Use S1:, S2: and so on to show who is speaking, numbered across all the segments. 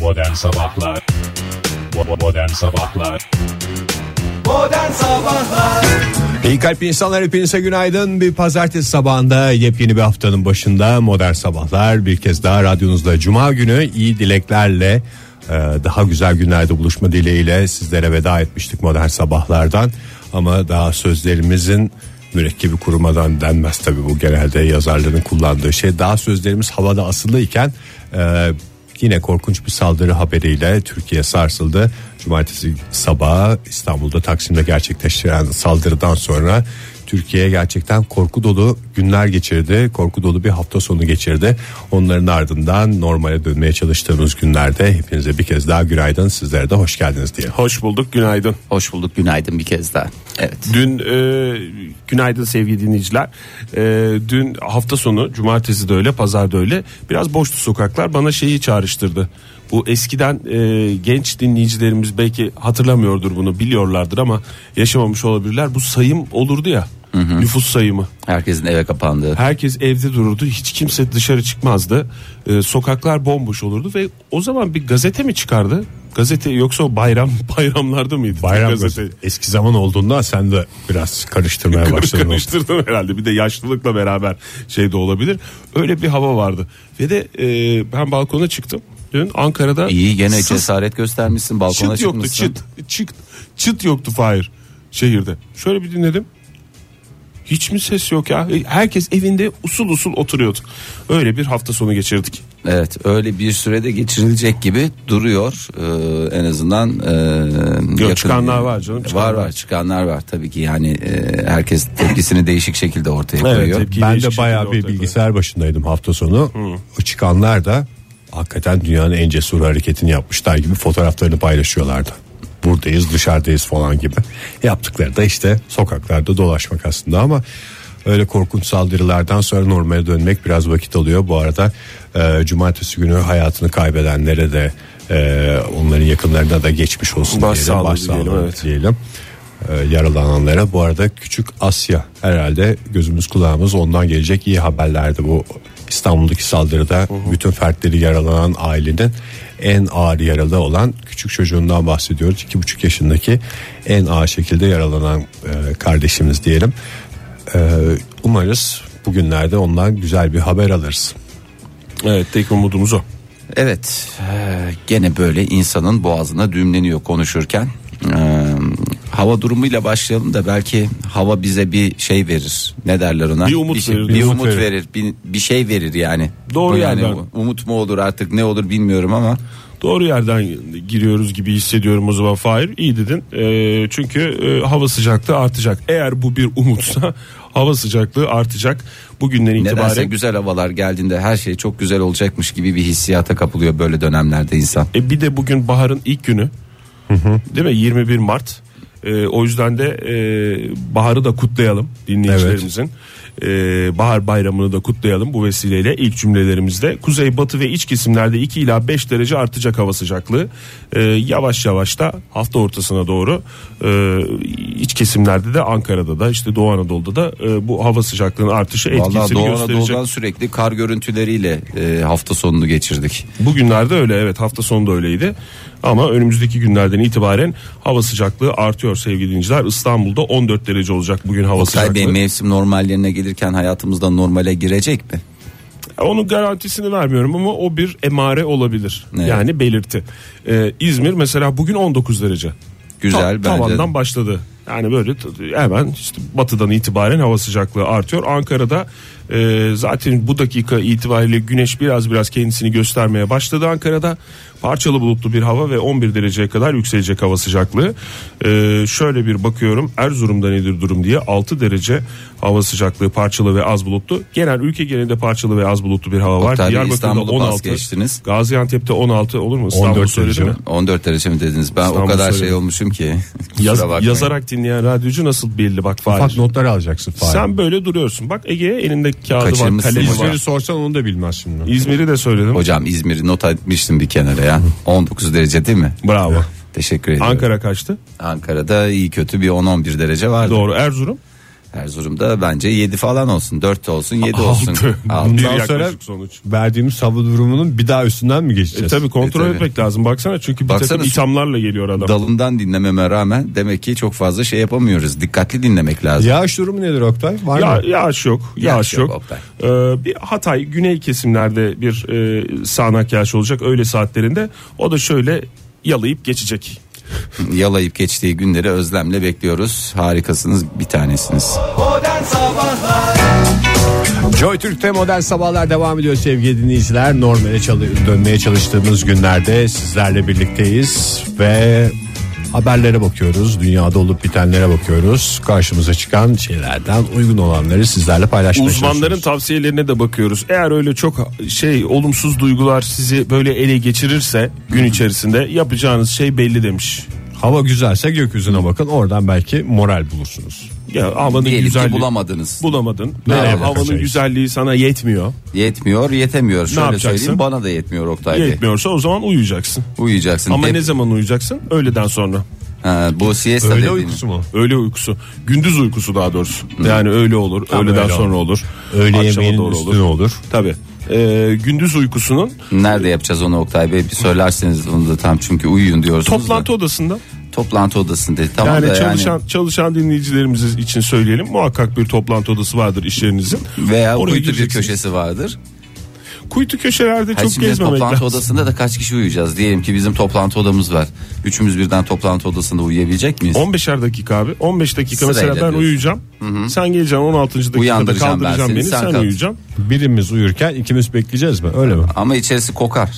S1: Modern Sabahlar Bo- Modern Sabahlar
S2: İyi kalpli insanlar hepinize günaydın. Bir pazartesi sabahında yepyeni bir haftanın başında modern sabahlar. Bir kez daha radyonuzda cuma günü iyi dileklerle e, daha güzel günlerde buluşma dileğiyle sizlere veda etmiştik modern sabahlardan. Ama daha sözlerimizin mürekkebi kurumadan denmez tabi bu genelde yazarların kullandığı şey. Daha sözlerimiz havada asılıyken e, Yine korkunç bir saldırı haberiyle Türkiye sarsıldı. Cumartesi sabahı İstanbul'da Taksim'de gerçekleştiren saldırıdan sonra Türkiye gerçekten korku dolu günler geçirdi. Korku dolu bir hafta sonu geçirdi. Onların ardından normale dönmeye çalıştığımız günlerde hepinize bir kez daha günaydın. Sizlere de hoş geldiniz diye.
S3: Hoş bulduk günaydın.
S4: Hoş bulduk günaydın bir kez daha. Evet.
S3: Dün e, günaydın sevgili dinleyiciler. E, dün hafta sonu cumartesi de öyle pazar da öyle biraz boştu sokaklar bana şeyi çağrıştırdı. Bu eskiden e, genç dinleyicilerimiz belki hatırlamıyordur bunu biliyorlardır ama yaşamamış olabilirler. Bu sayım olurdu ya nüfus sayımı.
S4: Herkesin eve kapandığı.
S3: Herkes evde dururdu. Hiç kimse dışarı çıkmazdı. Ee, sokaklar bomboş olurdu ve o zaman bir gazete mi çıkardı? Gazete yoksa o bayram bayramlarda mıydı?
S2: Bayram
S3: gazete.
S2: gazete- Eski zaman olduğunda sen de biraz karıştırmaya başladın.
S3: Karıştırdım şey herhalde. Bir de yaşlılıkla beraber şey de olabilir. Öyle bir hava vardı. Ve de e, ben balkona çıktım. Dün Ankara'da
S4: İyi gene
S3: sıs-
S4: cesaret göstermişsin balkona
S3: çıt yoktu.
S4: çıkmışsın.
S3: Çıt, çıt, çıt yoktu Fahir şehirde. Şöyle bir dinledim. Hiç mi ses yok ya? E, Herkes evinde usul usul oturuyordu. Öyle bir hafta sonu geçirdik.
S4: Evet öyle bir sürede geçirilecek gibi duruyor Ee, en azından. E,
S3: Yok, çıkanlar var canım, çıkanlar.
S4: Var var çıkanlar var tabii ki yani e, herkes tepkisini değişik şekilde ortaya
S3: Evet,
S4: koyuyor.
S3: tepki-
S2: Ben
S3: değişik
S2: de bayağı
S3: şekilde
S2: bir
S3: ortaya
S2: bilgisayar başındaydım hafta sonu. O çıkanlar da hakikaten dünyanın en cesur hareketini yapmışlar gibi fotoğraflarını paylaşıyorlardı. Buradayız dışarıdayız falan gibi. Yaptıkları da işte sokaklarda dolaşmak aslında ama öyle korkunç saldırılardan sonra normale dönmek biraz vakit alıyor. Bu arada e, cumartesi günü hayatını kaybedenlere de e, onların yakınlarına da geçmiş olsun diyelim.
S3: Başsağlığı
S2: Başsağlığı
S3: diyelim, evet.
S2: diyelim. Ee, yaralananlara bu arada küçük Asya herhalde gözümüz kulağımız ondan gelecek iyi haberlerdi bu İstanbul'daki saldırıda bütün fertleri yaralanan ailenin en ağır yaralı olan küçük çocuğundan bahsediyoruz iki buçuk yaşındaki en ağır şekilde yaralanan e, kardeşimiz diyelim Ee, umarız bugünlerde ondan güzel bir haber alırız
S3: Evet tek umudumuz o.
S4: Evet eee, gene böyle insanın boğazına düğümleniyor konuşurken. Eee, hava durumuyla başlayalım da belki hava bize bir şey verir. Ne derler ona?
S3: Bir umut
S4: şey-
S3: verir.
S4: Bir
S3: Bir
S4: umut,
S3: umut
S4: verir. Bir, bir şey verir yani.
S3: Doğru
S4: Bu yani.
S3: yerden.
S4: u- Umut mu olur artık ne olur bilmiyorum ama.
S3: Doğru yerden giriyoruz gibi hissediyorum o zaman Fahir. İyi dedin. Ee, çünkü e, hava sıcaklığı artacak. Eğer bu bir umutsa hava sıcaklığı artacak. Bugünden
S4: Nedense
S3: itibaren
S4: güzel havalar geldiğinde her şey çok güzel olacakmış gibi bir hissiyata kapılıyor böyle dönemlerde insan.
S3: E bir de bugün baharın ilk günü. Değil mi? 21 Mart. E, o yüzden de e, baharı da kutlayalım dinleyicilerimizin. E, bahar bayramını da kutlayalım bu vesileyle ilk cümlelerimizde. Kuzey, batı ve iç kesimlerde 2 ila 5 derece artacak hava sıcaklığı. E, yavaş yavaş da hafta ortasına doğru e, iç kesimlerde de Ankara'da da işte Doğu Anadolu'da da e, bu hava sıcaklığının artışı etkisini
S4: Vallahi Doğu
S3: gösterecek.
S4: Anadolu'dan sürekli kar görüntüleriyle eee, hafta sonunu geçirdik.
S3: Bugünlerde öyle evet hafta sonu da öyleydi. Ama önümüzdeki günlerden itibaren hava sıcaklığı artıyor sevgili dinleyiciler. İstanbul'da 14 derece olacak bugün hava
S4: Tay Bey
S3: sıcaklığı.
S4: mevsim normallerine gelirken hayatımızda normale girecek mi?
S3: Onun garantisini vermiyorum ama o bir emare olabilir.
S4: Evet.
S3: Yani belirti. Ee, İzmir mesela bugün 19 derece.
S4: Güzel bence de.
S3: Tavandan başladı. Yani böyle t- hemen işte batıdan itibaren hava sıcaklığı artıyor. Ankara'da e, zaten bu dakika itibariyle güneş biraz biraz kendisini göstermeye başladı Ankara'da. Parçalı bulutlu bir hava ve 11 dereceye kadar yükselecek hava sıcaklığı. E, şöyle bir bakıyorum Erzurum'da nedir durum diye 6 derece hava sıcaklığı parçalı ve az bulutlu. Genel ülke genelinde parçalı ve az bulutlu bir hava var.
S4: Oktay Bey,
S3: Diyarbakır'da
S4: İstanbul'u pas
S3: 16.
S4: geçtiniz.
S3: Gaziantep'te 16 olur mu? İstanbul
S2: 14
S3: söyledim
S2: derece
S3: mi?
S2: mi?
S4: 14 derece mi dediniz? Ben o
S3: İstanbul
S4: kadar şey
S3: söyledim.
S4: olmuşum ki. Kusura
S3: Yaz-
S4: bakmayın.
S3: yazarak dinleyen radyocu nasıl belli bak Fahir.
S2: ufak notlar alacaksın Fahir.
S3: Sen şey böyle duruyorsun. Bak Ege'ye elinde kağıdı var.
S4: Kaçırmışsın
S3: kalemi
S4: hocam.
S3: var.
S2: İzmir'i sorsan onu da bilmez şimdi
S3: İzmir'i de söyledim.
S4: Hocam İzmir'i not etmiştim bir kenara ya. 19 derece değil mi?
S3: Bravo.
S4: Teşekkür ediyorum.
S3: Ankara kaçtı?
S4: Ankara'da iyi kötü bir 10-11 derece vardı.
S3: Doğru. Erzurum.
S4: Erzurum'da bence 7 falan olsun. 4 de olsun 7 olsun.
S3: Altı.
S4: Altı.
S3: Bir
S2: Bundan sonra
S3: yaklaşık sonuç.
S2: verdiğimiz hava durumunun bir daha üstünden mi
S3: E
S2: geçeceğiz?
S3: tabi kontrol
S4: E, tabii.
S3: etmek lazım baksana çünkü bir
S4: Baksana.
S3: takım ithamlarla geliyor adam.
S4: Dalından dinlememe rağmen demek ki çok fazla şey yapamıyoruz. Dikkatli dinlemek lazım.
S2: Yağış durumu nedir Oktay? Var
S3: Ya,
S2: mı?
S3: yağış yok. Yağış,
S4: Yağış yok,
S3: yok.
S4: Oktay.
S3: Ee, bir Hatay güney kesimlerde bir e, sağanak yağış olacak öğle saatlerinde. O da şöyle yalayıp geçecek.
S4: Yalayıp geçtiği günleri özlemle bekliyoruz. Harikasınız bir tanesiniz.
S2: Joy Türk'te modern sabahlar devam ediyor sevgili dinleyiciler. Normale çalı- dönmeye çalıştığımız günlerde sizlerle birlikteyiz ve haberlere bakıyoruz. Dünyada olup bitenlere bakıyoruz. Karşımıza çıkan şeylerden uygun olanları sizlerle paylaşmaya
S3: Uzmanların
S2: çalışıyoruz.
S3: tavsiyelerine de bakıyoruz. Eğer öyle çok şey olumsuz duygular sizi böyle ele geçirirse gün içerisinde yapacağınız şey belli demiş.
S2: Hava güzelse gökyüzüne bakın oradan belki moral bulursunuz.
S3: Ya havanın
S4: Diyelim ki
S3: güzelliği
S4: bulamadınız.
S3: bulamadın.
S2: Ne şey?
S3: Ee,
S2: yapacağız?
S3: havanın güzelliği sana yetmiyor.
S4: Yetmiyor yetemiyor. Şöyle
S3: yapacaksın?
S4: söyleyeyim bana da yetmiyor Oktay Bey.
S3: Yetmiyorsa o zaman uyuyacaksın.
S4: Uyuyacaksın.
S3: Ama
S4: Dep-
S3: ne zaman uyuyacaksın? Öğleden sonra.
S4: Ha, bu siesta
S2: Öyle
S4: dediğiniz.
S2: uykusu mu?
S3: Öğle uykusu. Gündüz uykusu daha doğrusu. Yani öğle olur. öğleden
S2: öyle
S3: sonra olur.
S2: Öğle
S3: akşama
S2: yemeğinin
S3: doğru
S2: üstüne olur.
S3: Tabii. Ee, gündüz uykusunun
S4: Nerede yapacağız onu Oktay Bey? Bir söylerseniz onu da tam çünkü uyuyun diyorsunuz.
S3: toplantı
S4: da.
S3: odasında
S4: Toplantı odasında. Tamam
S3: yani
S4: da
S3: çalışan
S4: yani
S3: çalışan dinleyicilerimiz için söyleyelim. Muhakkak bir toplantı odası vardır işlerinizin.
S4: veya
S3: Oraya
S4: uyutucu bir
S3: gireceksiniz.
S4: köşesi vardır.
S3: Kuytu köşelerde
S4: Ha,
S3: çok
S4: şimdi
S3: gezmemek
S4: toplantı
S3: lazım.
S4: odasında da kaç kişi uyuyacağız? Diyelim ki bizim toplantı odamız var. Üçümüz birden toplantı odasında uyuyabilecek miyiz?
S3: 15'er dakika abi. 15 dakika
S4: Sırayla
S3: mesela ben
S4: diyorsun.
S3: uyuyacağım. Sen geleceksin 16. dakikada
S4: Uyandıracağım ben
S3: kaldıracaksın
S4: seni,
S3: beni.
S4: sen
S3: Sen,
S4: kalk.
S3: uyuyacaksın.
S2: Birimiz uyurken ikimiz bekleyeceğiz mi? Öyle mi?
S4: Ama içerisi kokar.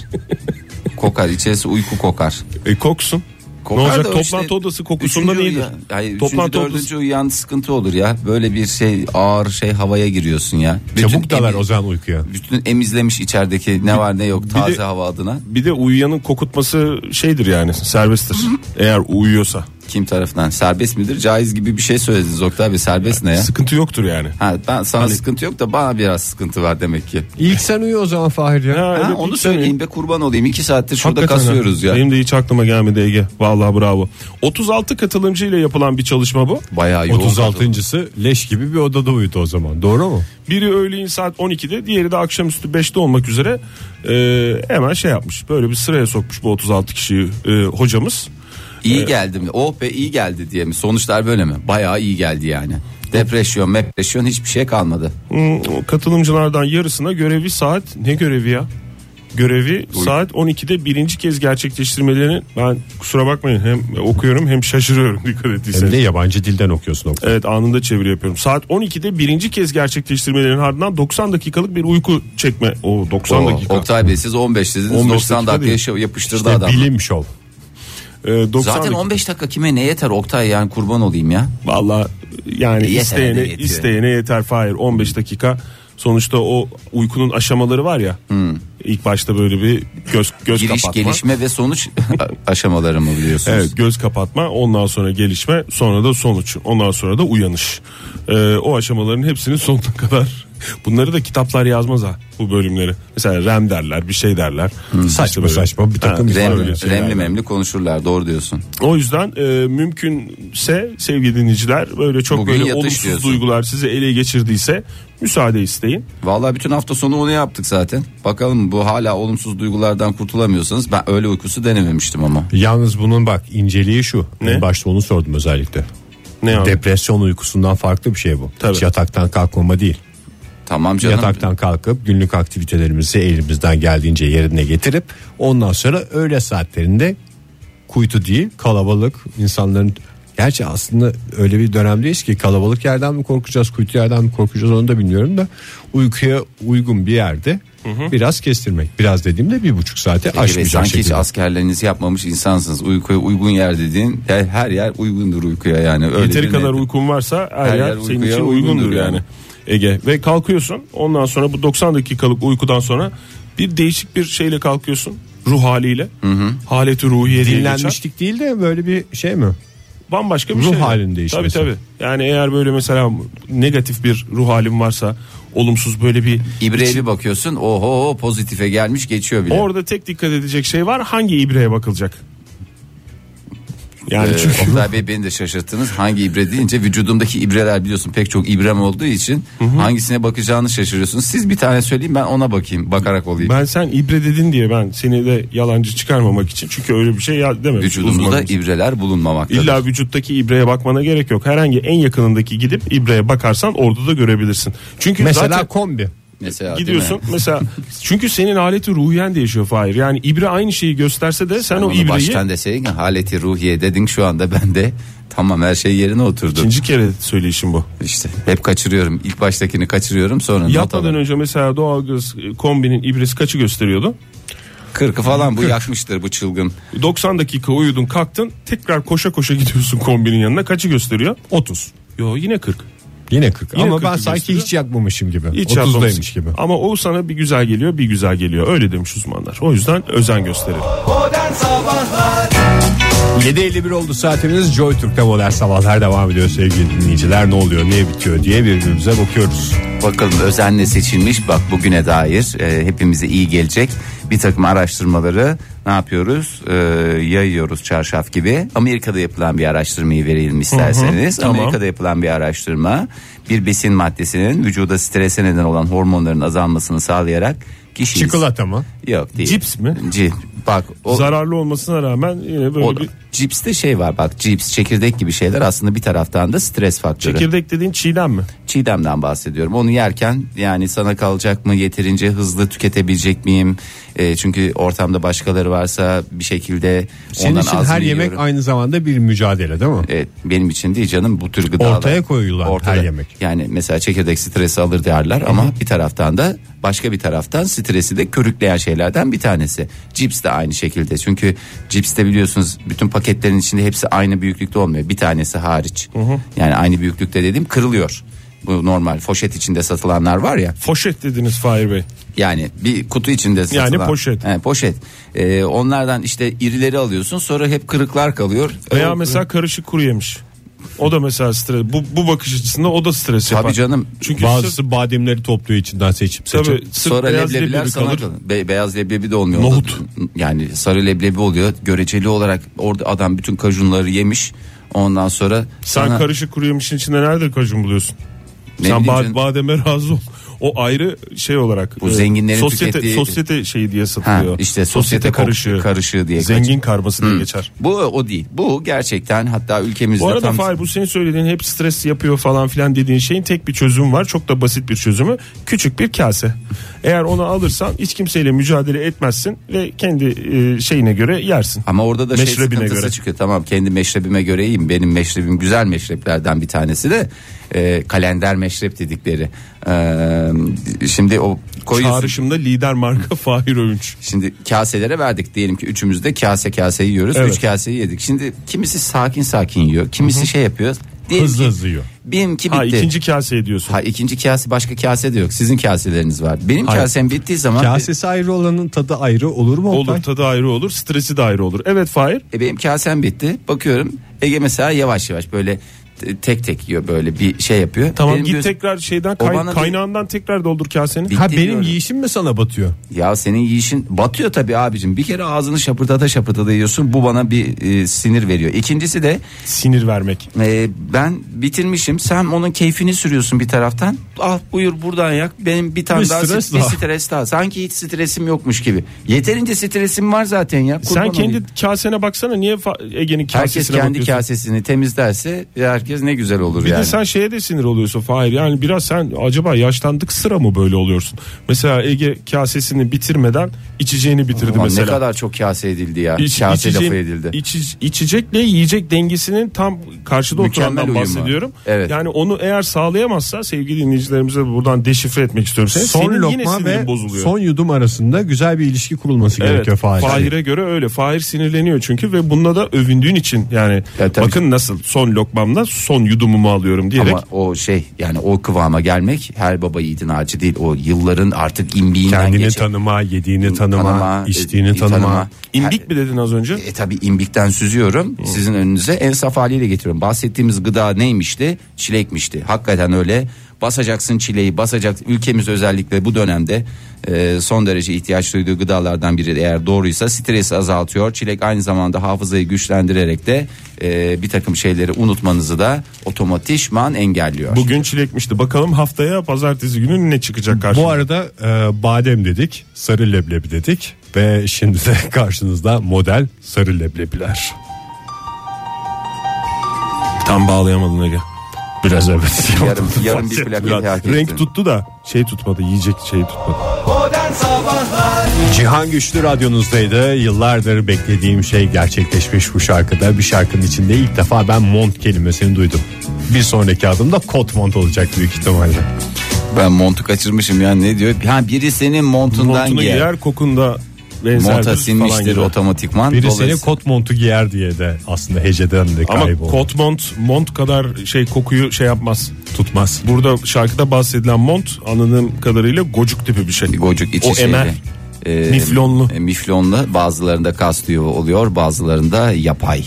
S4: kokar içerisi uyku kokar.
S3: E koksun.
S4: Kokar
S3: ne olacak
S4: da o işte-
S3: toplantı odası kokusundan
S4: Üçüncü
S3: iyidir.
S4: uyan- Hayır,
S3: toplantı
S4: toplantı
S3: odası-
S4: dördüncü uyan sıkıntı olur ya. Böyle bir şey ağır şey havaya giriyorsun ya. Bütün
S2: Çabuk dalar
S4: emi-
S2: o zaman uykuya.
S4: Bütün emizlemiş içerideki ne var ne yok
S3: de-
S4: taze hava adına.
S3: Bir de uyuyanın kokutması şeydir yani serbesttir. Eğer uyuyorsa.
S4: Kim tarafından serbest midir caiz gibi bir şey söylediniz Oktay abi serbest ne ya?
S3: Sıkıntı yoktur yani.
S4: Ha, ben sana sıkıntı yok da bana biraz sıkıntı var demek ki.
S2: İlk sen uyu o zaman Fahir ya.
S3: Ha,
S4: Ha,
S3: öyle
S4: onu
S3: bir-
S4: söyleyeyim be kurban olayım. iki saattir şurada
S3: Hakikaten ha.
S4: kasıyoruz ya.
S3: Benim de hiç aklıma gelmedi Ege. Vallahi bravo. 36 katılımcı ile yapılan bir çalışma bu.
S4: Bayağı yoğun.
S2: 36.sı E, leş gibi bir odada uyudu o zaman. Doğru mu?
S3: Biri öğleyin saat 12'de, diğeri de akşamüstü 5'te olmak üzere e, hemen şey yapmış. Böyle bir sıraya sokmuş bu 36 kişiyi e, hocamız.
S4: İyi geldim. Oh be iyi geldi diye mi? Sonuçlar böyle mi? Bayağı iyi geldi yani. Depresyon, depresyon hiçbir şey kalmadı.
S3: Hmm, katılımcılardan yarısına görevi saat ne görevi ya? Görevi saat 12'de birinci kez gerçekleştirmelerini ben kusura bakmayın hem okuyorum hem şaşırıyorum dikkat
S2: Hem
S3: ettiyseniz.
S2: de yabancı dilden okuyorsun Oktay.
S3: Evet anında çeviri yapıyorum. Saat 12'de birinci kez gerçekleştirmelerin ardından 90 dakikalık bir uyku çekme. O 90
S4: Oo,
S3: dakika.
S4: Oktay Bey siz 15 dediniz.
S3: 15
S4: 90
S3: dakika
S4: dakika
S3: değil.
S4: yaşa- yapıştırdı
S2: İşte
S4: adam.
S2: bilim şov.
S3: Ee, 90
S4: Zaten
S3: dakika.
S4: 15 dakika kime ne yeter Oktay yani kurban olayım ya.
S3: Valla yani
S4: Yeter,
S3: isteyene
S4: hadi yetiyor.
S3: isteyene yeter Fahir 15 dakika. Sonuçta o uykunun aşamaları var ya. İlk başta böyle bir göz göz
S4: Hmm. Giriş,
S3: kapatma.
S4: gelişme ve sonuç aşamaları mı biliyorsunuz?
S3: Evet göz kapatma ondan sonra gelişme sonra da sonuç ondan sonra da uyanış. Ee, o aşamaların hepsinin sonuna kadar bunları da kitaplar yazmaz ha bu bölümleri. Mesela rem derler bir şey derler.
S4: Hmm.
S2: Saçma
S3: İşte böyle.
S2: saçma bir takım
S3: Ha,
S2: Var
S4: Remli,
S2: öyle
S3: öyle şeyler.
S4: remli memli konuşurlar doğru diyorsun.
S3: O yüzden e, mümkünse sevgili dinleyiciler böyle çok
S4: Bugün
S3: böyle
S4: yatış
S3: olumsuz
S4: diyorsun.
S3: duygular sizi ele geçirdiyse müsaade isteyin.
S4: Vallahi bütün hafta sonu onu yaptık zaten. Bakalım bu hala olumsuz duygulardan kurtulamıyorsanız ben öyle uykusu denememiştim ama.
S2: Yalnız bunun bak inceliği şu.
S3: Ne?
S2: En başta onu sordum özellikle.
S3: Ne yani?
S2: Depresyon uykusundan farklı bir şey bu.
S3: Tabii.
S2: Hiç yataktan kalkmama değil.
S4: Tamam canım.
S2: Yataktan kalkıp günlük aktivitelerimizi elimizden geldiğince yerine getirip ondan sonra öğle saatlerinde kuytu değil kalabalık insanların Gerçi aslında öyle bir dönemdeyiz ki kalabalık yerden mi korkacağız, kuytu yerden mi korkacağız onu da bilmiyorum da uykuya uygun bir yerde biraz kestirmek. Biraz dediğimde bir buçuk saate
S4: Peki be,
S2: aşmayacak
S4: sanki hiç
S2: şekilde.
S4: askerlerinizi yapmamış insansınız. Uykuya uygun yer dediğin her, her yer uygundur uykuya yani. Öyle
S3: Yeteri
S4: bir
S3: kadar
S4: nedir?
S3: uykun varsa her,
S4: Her
S3: yer,
S4: yer
S3: senin
S4: uykuya
S3: için uygundur
S4: uygundur
S3: yani.
S4: yani.
S3: Ege ve kalkıyorsun ondan sonra bu 90 dakikalık uykudan sonra bir değişik bir şeyle kalkıyorsun ruh haliyle. Haleti ruhiye diye geçer.
S2: Dinlenmişlik değil de böyle bir şey mi?
S3: Bambaşka bir
S2: Ruh
S3: şey.
S2: halinin değişmesi.
S3: Tabii tabii. Yani eğer böyle mesela negatif bir ruh halin varsa olumsuz böyle bir
S4: İbreye bir bakıyorsun oho pozitife gelmiş geçiyor bile.
S3: Orada tek dikkat edecek şey var hangi ibreye bakılacak? Yani
S4: Ee,
S3: çünkü
S4: Oktay Bey beni de şaşırttınız. Hangi ibre deyince vücudumdaki ibreler biliyorsun pek çok ibrem olduğu için hangisine bakacağını şaşırıyorsunuz. Siz bir tane söyleyin ben ona bakayım bakarak olayım.
S3: ben sen ibre dedin diye ben seni de yalancı çıkarmamak için çünkü öyle bir şey ya dememiş
S4: Vücudumuzda
S3: uzmanımız.
S4: ibreler bulunmamaktadır.
S3: İlla vücuttaki ibreye bakmana gerek yok. Herhangi en yakınındaki gidip ibreye bakarsan orada da görebilirsin. Çünkü
S2: Mesela
S3: zaten
S2: kombi.
S4: Mesela değil mi?
S3: gidiyorsun mesela çünkü senin aleti ruhiyen değişiyor Fahir. Yani ibre aynı şeyi gösterse de sen
S4: Ben
S3: o
S4: onu
S3: ibreyi
S4: baştan deseydin ki haleti ruhiye dedin şu anda ben de tamam her şey yerine oturdu.
S3: ikinci kere söyleyişim bu.
S4: İşte hep kaçırıyorum. İlk baştakini kaçırıyorum sonra not
S3: Yatmadan
S4: alıyorum.
S3: önce mesela doğalgaz kombinin ibresi kaçı gösteriyordu?
S4: Kırkı falan bu yakmıştır bu çılgın.
S3: 90 dakika uyudun kalktın tekrar koşa koşa gidiyorsun kombinin yanına kaçı gösteriyor?
S2: 30.
S3: Yo yine 40.
S2: Yine 40.
S3: Yine
S2: Ama ben
S3: 40'ı
S2: sanki
S3: gösteriyor.
S2: hiç yakmamışım gibi.
S3: Hiç
S2: 30'daymış
S3: yapmamışsın.
S2: gibi.
S3: Ama o sana bir güzel geliyor bir güzel geliyor öyle demiş uzmanlar. O yüzden özen gösterin.
S2: 7.51 oldu saatimiz Joy Türk'te modern sabahlar devam ediyor sevgili dinleyiciler. Ne oluyor ne bitiyor diye birbirimize bakıyoruz.
S4: Bakalım özenle seçilmiş bak bugüne dair e, hepimize iyi gelecek bir takım araştırmaları ne yapıyoruz E, yayıyoruz çarşaf gibi. Amerika'da yapılan bir araştırmayı verelim isterseniz.
S3: tamam.
S4: Amerika'da yapılan bir araştırma bir besin maddesinin vücuda strese neden olan hormonların azalmasını sağlayarak kişiyi...
S2: Çikolata mı?
S4: Yok değil.
S3: Cips mi?
S4: Cip. Bak o,
S3: Zararlı olmasına rağmen yine böyle
S4: o
S3: bir
S4: cipste şey var bak cips çekirdek gibi şeyler aslında bir taraftan da stres faktörü.
S3: çekirdek dediğin çiğdem mi?
S4: Çiğdem'den bahsediyorum. Onu yerken yani sana kalacak mı yeterince hızlı tüketebilecek miyim? E, çünkü ortamda başkaları varsa bir şekilde
S2: Senin
S4: ondan
S2: için
S4: az
S2: her
S4: mı
S2: yemek
S4: yiyorum?
S2: aynı zamanda bir mücadele değil mi?
S4: Evet, benim için değil canım bu tür gıdalar.
S2: Ortaya koyulan her yemek.
S4: Yani mesela çekirdek stresi alır derler ama bir taraftan da başka bir taraftan stresi de körükleyen şeylerden bir tanesi. Cips de aynı şekilde. Çünkü cips de biliyorsunuz bütün paketlerin içinde hepsi aynı büyüklükte olmuyor. Bir tanesi hariç. Yani aynı büyüklükte dediğim kırılıyor. Bu normal foşet içinde satılanlar var ya.
S3: Foşet dediniz Fahir Bey.
S4: Yani bir kutu içinde satılan.
S3: poşet.
S4: He, poşet. Ee, onlardan işte irileri alıyorsun sonra hep kırıklar kalıyor. Ee,
S3: Veya mesela karışık kuru yemiş. O da mesela stres. Bu, bu bakış açısında o da stres yapar.
S4: Tabii canım.
S3: Çünkü sırf,
S2: Bazısı bademleri topluyor içinden seçip seçip.
S3: tabii, sırf
S4: Sonra
S3: beyaz
S4: leblebiler
S3: leblebi
S4: sana
S3: kalır.
S4: kalır. Be- beyaz leblebi de olmuyor.
S3: Nohut.
S4: Yani sarı leblebi oluyor. Göreceli olarak orada adam bütün kajunları yemiş. Ondan sonra
S3: Sen
S4: sana-
S3: karışık kuru yemişin içinde nerede kajun buluyorsun?
S4: Ne
S3: Sen
S4: bileyim
S3: ba-
S4: canım.
S3: bademe razı ol. O ayrı şey olarak.
S4: Bu zenginlerin
S3: sosyete,
S4: tükettiği-
S3: Sosyete şeyi diye
S4: ha,
S3: satılıyor.
S4: işte sosyete karışığı,
S3: karışığı.
S4: karışığı diye.
S3: Zengin karması diye geçer.
S4: Bu o değil. Bu gerçekten hatta ülkemizde
S3: Bu arada
S4: tam
S3: Fahir bu senin söylediğin hep stres yapıyor falan filan dediğin şeyin tek bir çözümü var. Çok da basit bir çözümü. Küçük bir kase. Eğer onu alırsan hiç kimseyle mücadele etmezsin ve kendi e, şeyine göre yersin.
S4: Ama orada da şey
S3: Meşrebine
S4: sıkıntısı
S3: göre.
S4: çıkıyor. Tamam kendi meşrebime göre iyiyim. Benim meşrebim güzel meşreplerden bir tanesi de e, kalender meşrep dedikleri. E, şimdi o koyuyorsun.
S3: Çağrışımda lider marka Fahir Övünç.
S4: Şimdi kaselere verdik diyelim ki üçümüz de kase kase yiyoruz.
S3: Evet.
S4: Üç kaseyi yedik. Şimdi kimisi sakin sakin yiyor. Kimisi şey yapıyor. Diyelim
S2: Hızlı
S4: ki-
S2: hızlı yiyor.
S4: Benimki bitti.
S3: Ha ikinci kase ediyorsun.
S4: Ha, ikinci kase başka kase de yok. Sizin kaseleriniz var. Benim kasem bittiği zaman
S2: Kasesi ayrı olanın tadı ayrı olur mu? Oktay?
S3: Olur tadı ayrı olur, stresi de ayrı olur. Evet Fahir.
S4: E benim kasem bitti. Bakıyorum Ege mesela yavaş yavaş böyle te- tek tek yiyor böyle bir şey yapıyor.
S3: Tamam
S4: Benim
S3: git
S4: göz-
S3: tekrar şeyden
S4: O
S3: kay-
S4: bana bir-
S3: kaynağından tekrar doldur kaseni.
S4: Bir-
S2: Ha
S4: Bitti
S2: benim
S4: diyorum.
S2: yiyişim mi sana batıyor?
S4: Ya senin yiyişin batıyor tabii abicim. Bir kere ağzını şapırdata şapırdata yiyorsun. Bu bana bir e, sinir veriyor. İkincisi de
S3: Sinir vermek.
S4: e, ben bitirmişim. Sen onun keyfini sürüyorsun bir taraftan. Ah buyur buradan yak. Benim bir tane
S2: Bir
S4: daha
S2: stres
S4: stres, bir
S2: daha.
S4: stres daha. Sanki hiç stresim yokmuş gibi. Yeterince stresim var zaten ya. Kurban
S3: Sen kendi
S4: olayım.
S3: kasene baksana niye Fa- Ege'nin
S4: Herkes
S3: kasesine
S4: kendi
S3: bakıyorsun?
S4: kasesini temizlerse herkes ne güzel olur
S3: Bir
S4: yani.
S3: de sen şeye de sinir oluyorsun Fahir. Yani biraz sen acaba yaşlandık sıra mı böyle oluyorsun? Mesela Ege kasesini bitirmeden içeceğini bitirdi
S4: Ulan
S3: mesela.
S4: Ne kadar çok kase edildi ya.
S3: İç-
S4: kase
S3: içeceğin-
S4: lafı edildi.
S3: içi- içecekle yiyecek dengesinin tam karşıda
S4: Mükemmel
S3: oturandan
S4: uyumu.
S3: bahsediyorum.
S4: Evet.
S3: Yani onu eğer sağlayamazsa sevgili dinleyicilerimize buradan deşifre etmek istiyorum. Senin,
S2: Son
S3: senin yine
S2: lokma
S3: sinirin
S2: ve
S3: bozuluyor.
S2: son yudum arasında güzel bir ilişki kurulması gerekiyor
S3: Evet,
S2: Fahir.
S3: Fahir'e göre öyle. Fahir sinirleniyor çünkü ve bununla da övündüğün için yani
S4: Ya tabii.
S3: bakın nasıl son lokmamla son yudumumu alıyorum diyerek
S4: Ama o şey yani o kıvama gelmek her baba yiğidin harcı değil. O yılların artık imbiğinden
S2: Kendini
S4: geçen.
S2: tanıma, yediğini tanıma,
S4: Tanıma,
S2: içtiğini
S4: e,
S2: tanıma.
S3: indik mi dedin az önce?
S4: E tabi imbikten süzüyorum sizin önünüze en saf haliyle getiriyorum. Bahsettiğimiz gıda neymişti? Çilekmişti. Hakikaten öyle Basacaksın çileyi basacak ülkemiz özellikle bu dönemde e, son derece ihtiyaç duyduğu gıdalardan biri eğer doğruysa stresi azaltıyor. Çilek aynı zamanda hafızayı güçlendirerek de e, bir takım şeyleri unutmanızı da otomatikman engelliyor.
S3: Bugün çilekmişti. Bakalım haftaya pazartesi günü ne çıkacak
S2: Bu
S3: karşımıza.
S2: arada e, badem dedik, sarı leblebi dedik ve şimdi de karşınızda model sarı leblebiler.
S3: Tam bağlayamadın Ege.
S2: Biraz evet.
S4: yarın, yarın bir plaket hak ettin.
S3: Renk tuttu da şey tutmadı yiyecek şeyi tutmadı.
S2: Cihan Güçlü radyonuzdaydı. Yıllardır beklediğim şey gerçekleşmiş bu şarkıda. Bir şarkının içinde ilk defa ben mont kelimesini duydum. Bir sonraki adım da kot mont olacak büyük ihtimalle.
S4: Ben montu kaçırmışım ya ne diyor? Ha biri senin montundan
S3: Montunu
S4: giyer.
S3: giyer kokunda benzerdir
S4: Monta
S3: falan
S4: sinmiştir
S3: gibi.
S4: otomatikman.
S2: Biri
S4: Dolayısıyla-
S2: seni kot montu giyer diye de aslında heceden de
S3: Ama
S2: kayboldu.
S3: kot mont mont kadar şey kokuyu şey yapmaz.
S2: tutmaz.
S3: Burada şarkıda bahsedilen mont anladığım kadarıyla gocuk tipi bir şey.
S4: Gocuk içi
S3: O
S4: şeyle.
S3: emer.
S4: Ee,
S3: Miflonlu.
S4: e, Miflonlu bazılarında kas tüyü oluyor bazılarında yapay.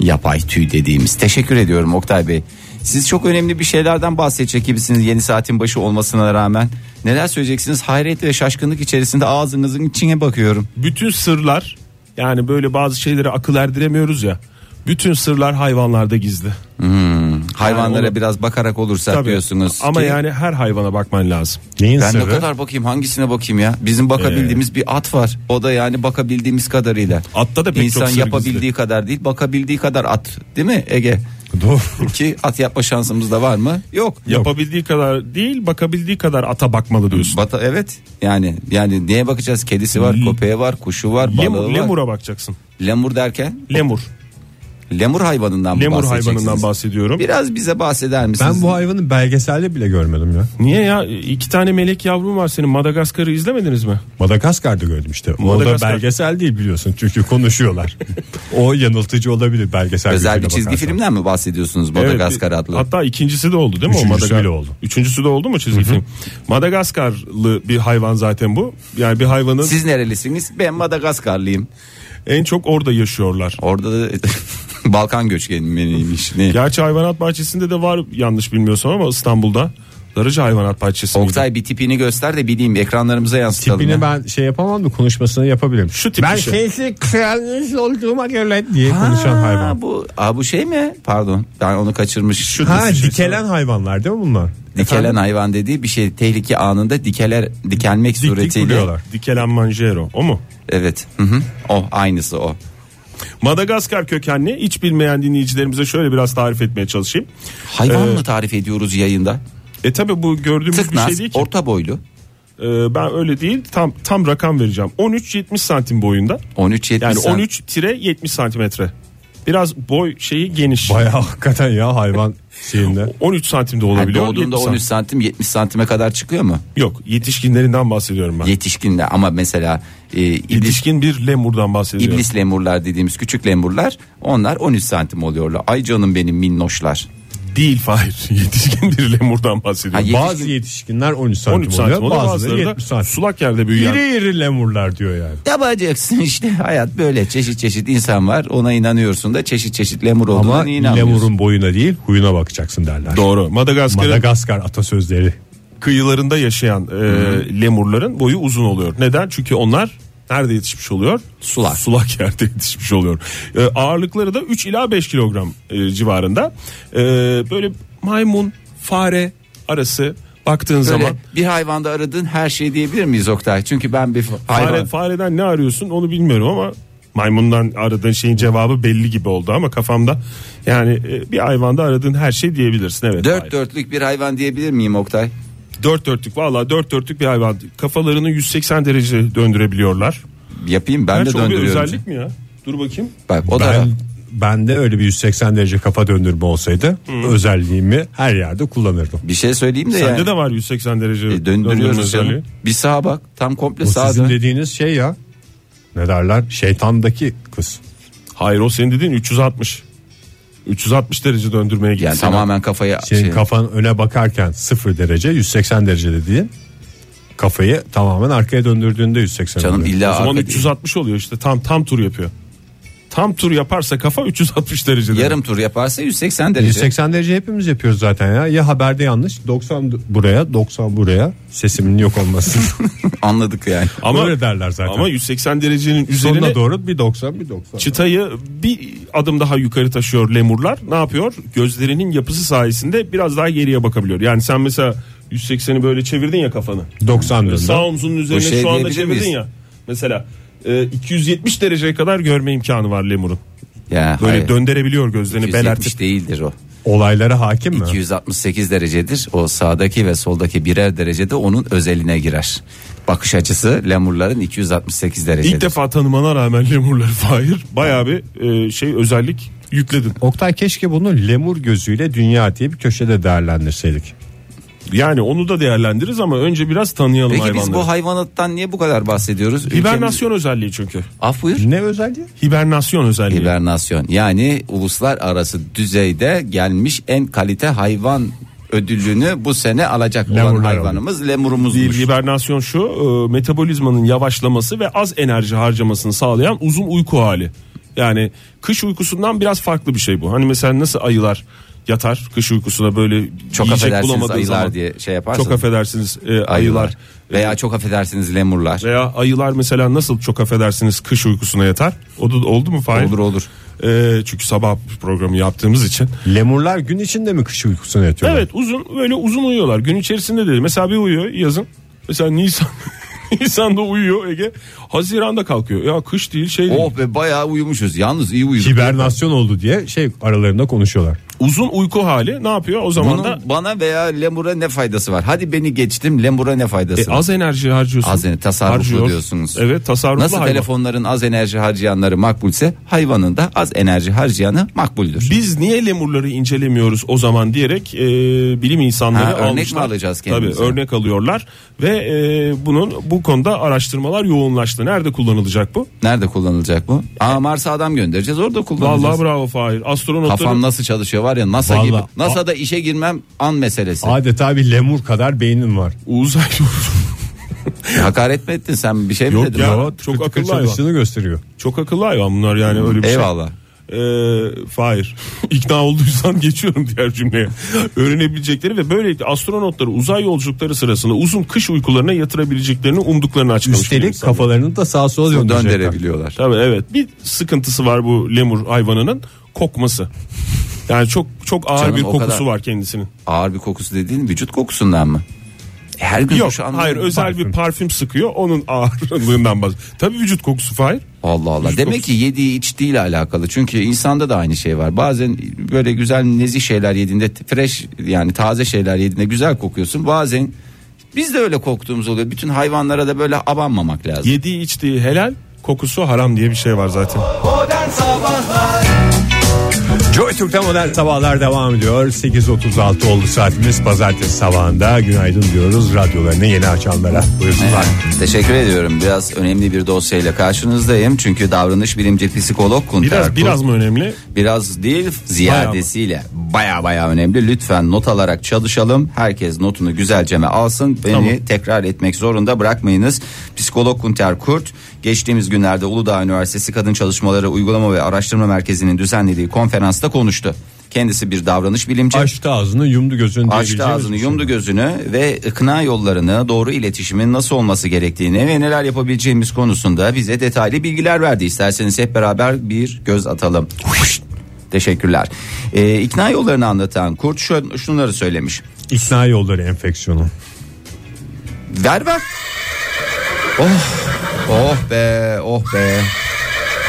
S4: Yapay tüy dediğimiz. Teşekkür ediyorum Oktay Bey. Siz çok önemli bir şeylerden bahsedecek gibisiniz yeni saatin başı olmasına rağmen. Neler söyleyeceksiniz? Hayret ve şaşkınlık içerisinde ağzınızın içine bakıyorum.
S3: Bütün sırlar yani böyle bazı şeylere akıl erdiremiyoruz ya. Bütün sırlar hayvanlarda gizli.
S4: Hayvanlara
S3: onu-
S4: biraz bakarak olursak
S3: Tabii.
S4: diyorsunuz.
S3: Ama
S4: ki-
S3: yani her hayvana bakman lazım.
S2: Neyin
S4: Ben ne
S2: sırrı?
S4: kadar bakayım hangisine bakayım ya? Bizim bakabildiğimiz bir at var. O da yani bakabildiğimiz kadarıyla.
S3: Atta Ee. da pek
S4: İnsan
S3: çok sır
S4: yapabildiği
S3: gizli.
S4: kadar değil, bakabildiği kadar at. Değil mi Ege?
S2: Doğru.
S4: Ki at yapma şansımız da var mı? Yok.
S3: Yapabildiği kadar değil bakabildiği kadar ata bakmalı diyorsun.
S4: Bata evet. Yani yani neye bakacağız? Kedisi var,
S3: L-
S4: köpeği var, kuşu var, balığı
S3: Lemur,
S4: var.
S3: lemura bakacaksın.
S4: Lemur derken
S3: Lemur.
S4: lemur hayvanından mı
S3: Lemur
S4: bahsedeceksiniz?
S3: hayvanından bahsediyorum.
S4: Biraz bize bahseder misiniz?
S2: Ben bu hayvanı belgeselde bile görmedim ya.
S3: Niye ya? İki tane melek yavrum var senin. Madagaskar'ı izlemediniz mi?
S2: Madagaskar'da gördüm işte. O da
S3: Madagaskar.
S2: belgesel değil biliyorsun çünkü konuşuyorlar. o yanıltıcı olabilir belgesel.
S4: Özel
S2: gözüyle
S4: bir çizgi
S2: bakarsan.
S4: filmden mi bahsediyorsunuz
S3: Evet,
S4: Madagaskar adlı?
S3: Hatta ikincisi de oldu değil mi?
S2: Üçüncüsü
S3: Madaga-
S2: bile oldu.
S3: Üçüncüsü de oldu mu çizgi film? Madagaskarlı bir hayvan zaten bu. Yani bir hayvanın
S4: Siz nerelisiniz? Ben Madagaskarlıyım.
S3: en çok orada yaşıyorlar.
S4: Orada da Balkan göçmeniymiş. Ne?
S3: Gerçi hayvanat bahçesinde de var yanlış bilmiyorsam ama İstanbul'da. Darıca hayvanat bahçesi. miydi?
S4: Oktay bir tipini göster de bileyim ekranlarımıza yansıtalım.
S2: Tipini
S4: ya.
S2: ben şey yapamam da konuşmasını yapabilirim.
S3: Şu tip
S2: ben
S3: işi.
S2: sesi kralınız olduğuma göre diye konuşan
S4: Aa,
S2: hayvan.
S4: Bu, aa, bu şey mi? Pardon ben onu kaçırmış. Şu
S2: Ha dikelen hayvanlar değil mi bunlar?
S4: Dikelen hayvan dediği bir şey tehlike anında dikeler dikelmek
S2: dik
S4: suretiyle.
S2: vuruyorlar.
S3: Dikelen manjero o mu?
S4: Evet. Hı hı. O aynısı o.
S3: Madagaskar kökenli hiç bilmeyen dinleyicilerimize şöyle biraz tarif etmeye çalışayım.
S4: Hayvan mı tarif ediyoruz yayında?
S3: E tabi bu gördüğümüz bir
S4: Tıknaz,
S3: Ee, şey değil ki.
S4: orta boylu.
S3: Ee, ben öyle değil tam tam rakam vereceğim. 13-70 santim boyunda.
S4: 13 70
S3: Yani 13-70 santimetre. Biraz boy şeyi geniş.
S2: Baya hakikaten ya hayvan şeyinde.
S3: 13 santim de olabiliyor.
S4: doğduğunda
S3: 70
S4: 13 santim 70 santime kadar çıkıyor mu?
S3: Yok yetişkinlerinden bahsediyorum ben.
S4: Yetişkinler ama mesela e, iblis,
S3: Yetişkin bir lemurdan bahsediyorum.
S4: iblis lemurlar dediğimiz küçük lemurlar onlar 13 santim oluyorlar. Ay canım benim minnoşlar.
S3: Değil Fahir. Yetişkin bir lemurdan bahsediyorum.
S4: Hayır.
S2: Bazı yetişkinler 13 santim
S3: 13 santim
S2: oluyor
S3: oluyor.
S2: bazıları
S3: Bazıları da
S2: 70 santim.
S3: sulak yerde büyüyen.
S2: İri iri lemurlar diyor yani.
S4: Yapacaksın işte hayat böyle çeşit çeşit insan var ona inanıyorsun da çeşit çeşit lemur olduğuna
S2: Ama
S4: inanmıyorsun.
S2: lemurun boyuna değil huyuna bakacaksın derler.
S3: Doğru. Madagaskar'ın
S2: Madagaskar atasözleri.
S3: kıyılarında yaşayan e, lemurların boyu uzun oluyor. Neden? Çünkü onlar nerede yetişmiş oluyor?
S4: Sulak.
S3: Sulak yerde yetişmiş oluyor. E, ağırlıkları da 3 ila 5 kilogram e, civarında. E, böyle maymun, fare arası baktığın
S4: Böyle
S3: zaman
S4: bir hayvanda aradığın her şey diyebilir miyiz Oktay? Çünkü ben bir
S3: Fare,
S4: hayvan
S3: fareden ne arıyorsun onu bilmiyorum ama maymundan aradığın şeyin cevabı belli gibi oldu ama kafamda yani e, bir hayvanda aradığın her şey diyebilirsin evet.
S4: dört
S3: Fahir.
S4: dörtlük bir hayvan diyebilir miyim Oktay?
S3: dört dörtlük valla dört dörtlük bir hayvan. Kafalarını 180 derece döndürebiliyorlar.
S4: Yapayım ben de
S3: Gerçi o bir
S4: döndürüyorum.
S3: özellik mi ya? Dur bakayım.
S4: Bak o da
S2: Ben bende öyle bir 180 derece kafa döndürme olsaydı özelliğimi her yerde kullanırdım.
S4: bir şey söyleyeyim de
S3: Sende
S4: yani.
S3: de var 180 derece
S4: E,
S3: döndürme
S4: döndürüyoruz
S3: özelliği.
S4: canım. Bir sağa bak tam komple
S2: O sizin
S4: sağa dön.
S2: dediğiniz şey ya. Ne derler? Şeytandaki kız.
S3: Hayır o senin dediğin 360. 360 derece döndürmeye gitsin.
S4: Yani tamamen kafaya
S2: Senin
S4: şey,
S2: kafan öne bakarken 0 derece 180 derece dediğin kafayı tamamen arkaya döndürdüğünde 180
S4: canım
S2: oluyor.
S3: O
S4: illa
S3: zaman
S4: arka
S3: 360 oluyor işte tam tam tur yapıyor. Tam tur yaparsa kafa 360 derecede.
S4: Yarım tur yaparsa 180 derece.
S2: 180 derece hepimiz yapıyoruz zaten ya. Ya haberde yanlış 90 buraya 90 buraya sesimin yok olması.
S4: Anladık yani.
S3: Ama
S2: Böyle derler zaten.
S3: Ama 180 derecenin üzerine
S2: Sonuna doğru bir 90 bir 90.
S3: çıtayı bir adım daha yukarı taşıyor lemurlar. Ne yapıyor? Gözlerinin yapısı sayesinde biraz daha geriye bakabiliyor. Yani sen mesela 180'i böyle çevirdin ya kafanı.
S2: 90 döndü.
S3: Sağ omzunun üzerine
S4: şey
S3: şu anda
S4: diyebilir
S3: çevirdin
S4: miyiz?
S3: ya. Mesela e, 270 dereceye kadar görme imkanı var lemurun.
S4: Ya,
S3: Böyle
S4: hayır.
S3: döndürebiliyor gözlerini
S4: 170
S3: belertip.
S4: değildir o.
S2: Olaylara hakim mi?
S4: 268 derecedir. O sağdaki ve soldaki birer derecede onun özeline girer. Bakış açısı lemurların 268 derecedir.
S3: İlk defa tanımana rağmen lemurları Fahir bayağı bir e, şey özellik yükledin.
S2: Oktay keşke bunu lemur gözüyle dünya diye bir köşede değerlendirseydik.
S3: Yani onu da değerlendiririz ama önce biraz tanıyalım
S4: Peki
S3: hayvanları.
S4: biz bu hayvanattan niye bu kadar bahsediyoruz? Ülkemiz-
S3: Hibernasyon özelliği çünkü.
S4: Af buyur.
S2: Ne özelliği?
S3: Hibernasyon özelliği.
S4: Hibernasyon yani uluslararası düzeyde gelmiş en kalite hayvan ödülünü bu sene alacak olan
S2: Lemurlar
S4: hayvanımız
S3: Değil,
S4: lemurumuzmuş.
S3: hibernasyon şu e, metabolizmanın yavaşlaması ve az enerji harcamasını sağlayan uzun uyku hali. Yani kış uykusundan biraz farklı bir şey bu. Hani mesela nasıl ayılar yatar kış uykusuna böyle
S4: Çok
S3: yiyecek
S4: affedersiniz
S3: bulamadığı
S4: ayılar
S3: zaman.
S4: diye şey yaparsınız.
S3: Çok affedersiniz e, ayılar.
S4: ayılar. Veya çok affedersiniz lemurlar.
S3: Veya ayılar mesela nasıl çok affedersiniz kış uykusuna yatar. O da oldu mu Fahir?
S4: Olur olur.
S3: E, çünkü sabah programı yaptığımız için.
S2: Lemurlar gün içinde mi kış uykusuna yatıyorlar?
S3: Evet uzun böyle uzun uyuyorlar. Gün içerisinde dedi. Mesela bir uyuyor yazın. Mesela Nisan Nisan'da uyuyor Ege. Haziran'da kalkıyor. Ya kış değil şey değil.
S4: Oh be bayağı uyumuşuz. Yalnız iyi uyuduk.
S2: Hibernasyon oldu diye şey aralarında konuşuyorlar.
S3: Uzun uyku hali ne yapıyor? O zaman da
S4: Bunun bana veya lemura ne faydası var? Hadi beni geçtim lemura ne faydası
S3: e,
S4: var?
S3: az enerji harcıyorsun.
S4: Az ener- tasarruflu
S3: Harcıyor.
S4: diyorsunuz.
S3: Evet tasarruflu
S4: Nasıl
S3: hayvan.
S4: telefonların az enerji harcayanları makbulse hayvanın da az enerji harcayanı makbuldür.
S3: Biz niye lemurları incelemiyoruz o zaman diyerek e, bilim insanları
S4: Ha, örnek mi
S3: almışlar.
S4: alacağız
S3: Tabii
S4: kendimize?
S3: örnek alıyorlar ve e, bunun bu konuda araştırmalar yoğunlaştı. Nerede kullanılacak bu?
S4: Nerede kullanılacak bu? Aa Mars'a adam göndereceğiz orada kullanacağız.
S3: Vallahi bravo Fahir. Astronotların
S4: Kafam nasıl çalışıyor var ya NASA
S2: Vallahi.
S4: gibi. NASA'da işe girmem an meselesi.
S2: Adeta bir lemur kadar beynin var.
S3: uzay
S4: Hakaret mi ettin sen bir şey mi
S3: Yok
S4: dedin?
S3: ya.
S2: Ama
S3: çok
S2: tıkır tıkır
S3: akıllı hayvan.
S2: çalıştığını gösteriyor.
S3: Çok akıllı hayvan bunlar yani öyle bir
S4: Eyvallah.
S3: şey. Ee, Fahir. İkna olduysan geçiyorum diğer cümleye. Öğrenebilecekleri ve böylelikle astronotları uzay yolculukları sırasında uzun kış uykularına yatırabileceklerini umduklarını açıklamış. bilim
S2: Üstelik
S3: insanları.
S2: kafalarını da sağa sola
S3: şey-
S2: döndürecekler.
S4: Döndürebiliyorlar.
S3: Tabii evet. Bir sıkıntısı var bu lemur hayvanının kokması. Yani çok çok ağır
S4: Canım,
S3: bir
S4: o
S3: kokusu
S4: kadar.
S3: var kendisinin.
S4: Ağır bir kokusu dediğin vücut kokusundan mı? E, Her gün
S3: Yok
S4: duş almıyor
S3: hayır
S4: musun?
S3: özel bir parfüm sıkıyor onun ağırlığından bahsediyor. Tabii vücut kokusu Fahir.
S4: Allah Allah.
S3: Vücut
S4: Demek
S3: kokusu.
S4: ki yediği içtiğiyle alakalı. Çünkü insanda da aynı şey var. Bazen böyle güzel nezih şeyler yediğinde fresh yani taze şeyler yediğinde güzel kokuyorsun. Bazen biz de öyle koktuğumuz oluyor. Bütün hayvanlara da böyle abanmamak lazım.
S3: Yediği içtiği helal kokusu haram diye bir şey var zaten.
S2: Joy Türk'te modern sabahlar devam ediyor. 8.36 oldu saatimiz. Pazartesi sabahında günaydın diyoruz radyolarını yeni açanlara. Buyursunlar.
S4: Teşekkür ediyorum. Biraz önemli bir dosyayla karşınızdayım. Çünkü davranış bilimci psikolog Kunter
S3: Biraz
S4: Kurt-
S3: biraz mı önemli?
S4: biraz değil ziyadesiyle baya baya önemli. Lütfen not alarak çalışalım. Herkes notunu güzelceme alsın. Beni tekrar etmek zorunda bırakmayınız. Psikolog Kunter Kurt geçtiğimiz günlerde Uludağ Üniversitesi Kadın Çalışmaları Uygulama ve Araştırma Merkezi'nin düzenlediği konferansta konuştu. Kendisi bir davranış bilimci.
S2: Açtı ağzını yumdu gözünü
S4: Açtı
S2: diyebileceğimiz
S4: ağzını
S2: bir şey.
S4: yumdu gözünü ve ikna yollarını doğru iletişimin nasıl olması gerektiğini ve neler yapabileceğimiz konusunda bize detaylı bilgiler verdi. İsterseniz hep beraber bir göz atalım. Huş! Teşekkürler. Ee, ikna yollarını anlatan Kurt şu, şunları söylemiş.
S2: İkna yolları enfeksiyonu.
S4: Ver ver. Oh, oh be, oh be.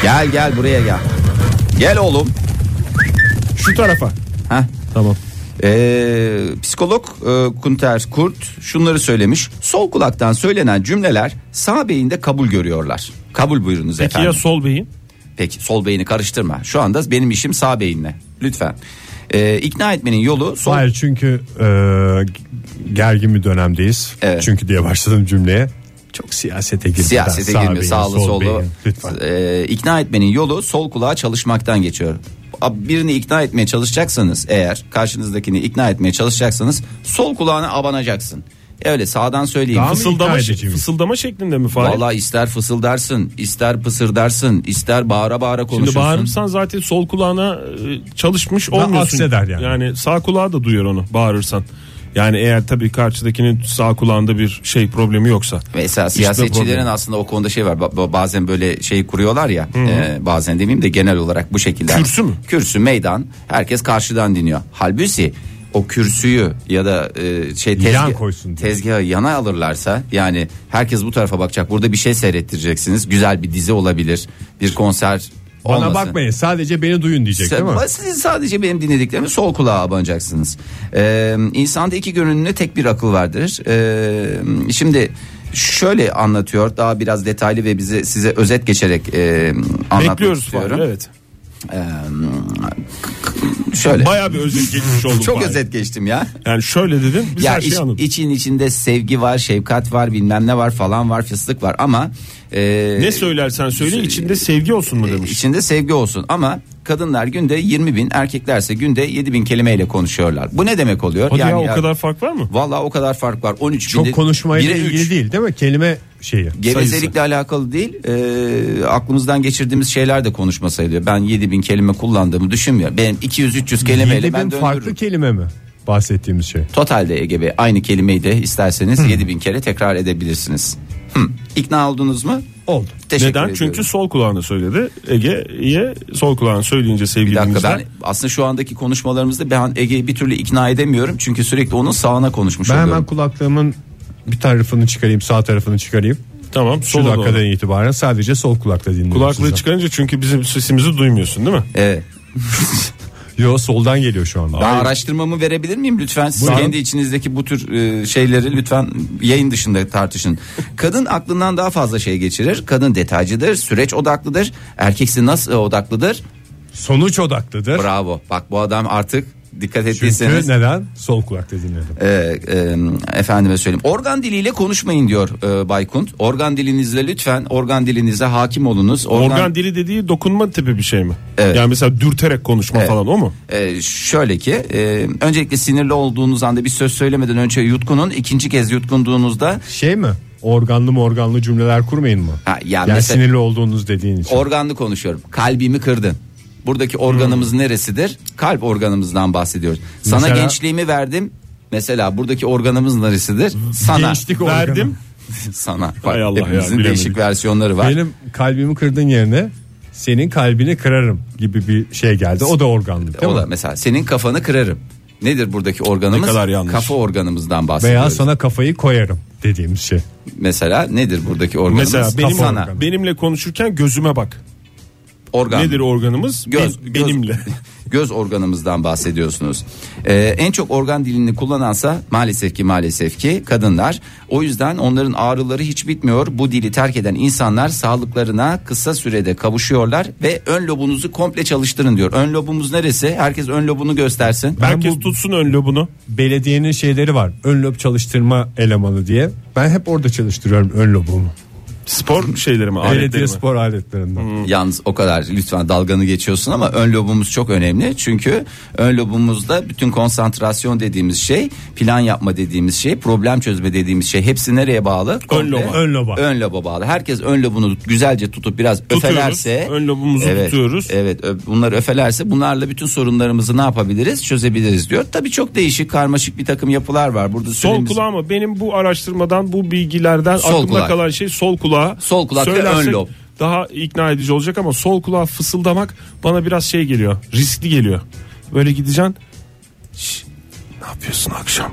S4: Gel gel buraya gel. Gel oğlum.
S2: Şu tarafa.
S4: Heh,
S2: Tamam.
S4: Ee, psikolog e, Kunter Kurt şunları söylemiş. Sol kulaktan söylenen cümleler sağ beyinde kabul görüyorlar. Kabul buyurunuz
S3: Peki
S4: efendim.
S3: ya sol beyin?
S4: Peki sol beyni karıştırma. Şu anda benim işim sağ beyinle. Lütfen. Ee, ikna etmenin yolu sol
S2: Hayır çünkü e, gergin bir dönemdeyiz.
S4: Evet.
S2: Çünkü diye başladım cümleye. Çok siyasete girdi.
S4: siyasete
S2: Sağ
S4: girmiyor.
S2: beyin,
S4: Sağlı
S2: sol
S4: solu.
S2: beyin. Lütfen.
S4: Ee, ikna etmenin yolu sol kulağa çalışmaktan geçiyor. Ab- Birini ikna etmeye çalışacaksanız eğer karşınızdakini ikna etmeye çalışacaksanız sol kulağına abanacaksın. Öyle sağdan söyleyeyim.
S2: Daha mı
S3: Fısıldama,
S2: ikna edici mi?
S3: fısıldama şeklinde mi Fahir?
S4: Valla ister fısıldarsın, ister pısırdarsın, ister bağıra bağıra konuşursun.
S3: Şimdi bağırırsan zaten sol kulağına e, çalışmış olmuyorsun.
S2: akseder yani.
S3: sağ kulağı da duyuyor onu bağırırsan. Yani eğer tabii karşıdakinin sağ kulağında bir şey problemi yoksa.
S4: Mesela
S3: İşitme
S4: siyasetçilerin
S3: problemi.
S4: aslında o konuda şey var. Ba- ba- Bazen böyle şey kuruyorlar ya. e, bazen demeyeyim de genel olarak bu şekilde.
S3: Kürsü mü?
S4: Kürsü, meydan. Herkes karşıdan dinliyor. Halbuki o kürsüyü ya da e, şey tezgah,
S2: Yan koysun diye.
S4: tezgahı yana alırlarsa yani herkes bu tarafa bakacak. Burada bir şey seyrettireceksiniz. Güzel bir dizi olabilir. Bir konser
S2: Bana
S4: olmasın.
S2: bakmayın sadece beni duyun diyecek
S4: Sen-
S2: değil mi?
S4: Siz sadece benim dinlediklerimi sol kulağa abanacaksınız. Ee, insanda iki görünümlü tek bir akıl vardır. Ee, şimdi şöyle anlatıyor daha biraz detaylı ve bize size özet geçerek e, anlatmak
S3: Bekliyoruz Fahir
S4: istiyorum.
S3: evet.
S4: Ee, şöyle
S3: Baya bir özet geçmiş oldum.
S4: çok
S3: Fahir. şey
S4: özet geçtim ya.
S3: Yani şöyle dedin biz
S4: ya
S3: her şeyi
S4: iç-
S3: anladık.
S4: için içinde sevgi var, şefkat var, bilmem ne var falan var, fıstık var ama e, şey-
S3: ne söylersen söyle içinde sevgi olsun mu demiş.
S4: İçinde sevgi olsun ama kadınlar günde 20 bin erkeklerse günde 7 bin kelimeyle konuşuyorlar. Bu ne demek oluyor?
S3: Hadi ya, o kadar fark var mı?
S4: Vallahi o kadar fark var. 13
S2: Çok
S4: binde
S2: konuşmayla
S4: bire
S2: ilgili
S4: üç.
S2: değil değil mi? Kelime şeyi.
S4: Gevezelikle alakalı değil e, aklımızdan geçirdiğimiz şeyler de konuşma sayılıyor. Ben 7000 kelime kullandığımı düşünmüyorum. Benim 200-300 kelimeyle ben
S2: 7000
S4: döndürürüm.
S2: farklı kelime mi bahsettiğimiz şey?
S4: Totalde Ege Bey aynı kelimeyi de isterseniz 7000 kere tekrar edebilirsiniz. Hı. İkna oldunuz mu?
S2: Oldu.
S4: Teşekkür
S3: Neden?
S4: ediyorum.
S3: Çünkü sol kulağına söyledi. Ege'ye sol kulağına söyleyince
S4: Bir
S3: sevgili
S4: dakika
S3: dinleyiciler-
S4: ben aslında şu andaki konuşmalarımızda ben Ege'yi bir türlü ikna edemiyorum. Çünkü sürekli onun sağına konuşmuş
S2: Ben hemen
S4: oluyorum.
S2: kulaklığımın bir tarafını çıkarayım sağ tarafını çıkarayım.
S3: Tamam
S2: Şu
S3: sola doğru.
S2: dakikadan itibaren sadece sol kulakla dinliyorum.
S3: Kulaklığı
S2: sizi.
S3: çıkarınca çünkü bizim sesimizi duymuyorsun değil mi?
S4: Evet.
S2: Yo soldan geliyor şu anda.
S4: Ben araştırmamı verebilir miyim lütfen? Siz
S2: Buyurun.
S4: kendi içinizdeki bu tür e, şeyleri lütfen yayın dışında tartışın. Kadın aklından daha fazla şey geçirir. Kadın detaycıdır, süreç odaklıdır. Erkeksi nasıl odaklıdır?
S2: Sonuç odaklıdır.
S4: Bravo. Bak bu adam artık dikkat
S2: Çünkü
S4: ettiyseniz
S2: neden? Sol kulakla dinledim.
S4: e, e, efendime söyleyeyim. Organ diliyle konuşmayın diyor e, Baykunt. Organ dilinizle lütfen organ dilinize hakim olunuz.
S3: Organ, dili dediği dokunma tipi bir şey mi?
S4: Evet.
S3: Yani mesela dürterek konuşma
S4: Evet.
S3: falan o mu?
S4: Ee, şöyle ki e, öncelikle sinirli olduğunuz anda bir söz söylemeden önce yutkunun ikinci kez yutkunduğunuzda
S2: Şey mi? Organlı mı organlı cümleler kurmayın mı?
S4: Ha, ya
S2: yani
S4: mesela-
S2: sinirli olduğunuz dediğin için.
S4: organlı konuşuyorum kalbimi kırdın. Buradaki
S3: Hmm.
S4: organımız neresidir? Kalp organımızdan bahsediyoruz. Sana
S2: Mesela-
S4: gençliğimi verdim. Mesela buradaki organımız neresidir? Sana.
S2: Gençlik organı.
S3: Verdim.
S4: Sana. Bak,
S3: Hmm. Hay Allah ya,
S4: hepimizin
S3: bilemedik.
S4: değişik versiyonları var.
S2: Benim kalbimi kırdın yerine senin kalbini kırarım gibi bir şey geldi. O da organlı değil
S4: o da
S2: mi?
S4: mesela senin kafanı kırarım. Nedir buradaki organımız?
S3: Ne kadar yanlış.
S4: Kafa organımızdan
S2: Veya
S4: bahsediyoruz.
S2: sana kafayı koyarım dediğimiz şey.
S4: Mesela nedir buradaki organımız?
S3: Mesela benim,
S4: sana.
S2: organı.
S3: benimle konuşurken gözüme bak.
S4: Organ.
S3: Nedir organımız?
S4: Göz,
S3: Ben-
S4: göz-
S3: benimle.
S4: Göz organımızdan bahsediyorsunuz. Ee, en çok organ dilini kullanansa maalesef ki maalesef ki kadınlar. O yüzden onların ağrıları hiç bitmiyor. Bu dili terk eden insanlar sağlıklarına kısa sürede kavuşuyorlar ve ön lobunuzu komple çalıştırın diyor. Ön lobumuz neresi? Herkes ön lobunu göstersin.
S2: Ben
S3: Herkes
S2: bu-
S3: tutsun ön lobunu.
S2: Belediyenin şeyleri var. Ön lob çalıştırma elemanı diye. Ben hep orada çalıştırıyorum ön lobumu.
S3: Spor şeylerimi,
S2: Belediye
S3: aletlerimi.
S2: spor aletlerinden.
S4: Yalnız o kadar lütfen dalganı geçiyorsun ama ön lobumuz çok önemli. Çünkü ön lobumuzda bütün konsantrasyon dediğimiz şey, plan yapma dediğimiz şey, problem çözme dediğimiz şey hepsi nereye bağlı? Komple
S3: loba.
S2: Ön loba.
S4: Ön loba bağlı. Herkes ön lobunu güzelce tutup biraz
S3: Tutuyoruz.
S4: öfelerse.
S3: Ön lobumuzu
S4: evet,
S3: tutuyoruz.
S4: Evet. ö- Bunları öfelerse bunlarla bütün sorunlarımızı ne yapabiliriz? Çözebiliriz diyor. Tabii çok değişik, karmaşık bir takım yapılar var. Burada
S3: Sol
S4: söylediğimiz-
S3: kulağı mı? Benim bu araştırmadan, bu bilgilerden
S4: Sol
S3: aklımda
S4: kulak.
S3: kalan şey sol kulağı.
S4: Sol kulak ve
S3: Söylersek
S4: ön lob.
S3: Daha ikna edici olacak ama sol kulağa fısıldamak bana biraz şey geliyor. Riskli geliyor. Böyle gideceksin. "Şş, ne yapıyorsun akşam?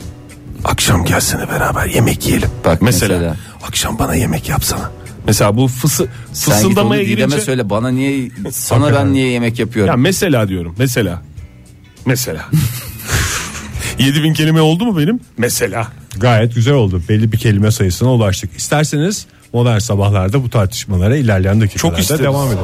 S3: Akşam gelsene beraber yemek yiyelim.
S4: Bak
S3: mesela,
S4: mesela.
S3: akşam bana yemek yapsana. Mesela bu fısı,
S4: Sen git onu
S3: fısıldamaya
S4: Didem'e
S3: girince
S4: söyle bana niye sana ben
S2: Hakikaten.
S4: niye yemek yapıyorum?
S3: ya mesela diyorum mesela. Mesela. 7000 kelime oldu mu benim? Mesela.
S2: Gayet güzel oldu. Belli bir kelime sayısına ulaştık. İsterseniz modern sabahlarda bu tartışmalara ilerleyen dakikalarda
S3: isteriz.
S2: devam edelim.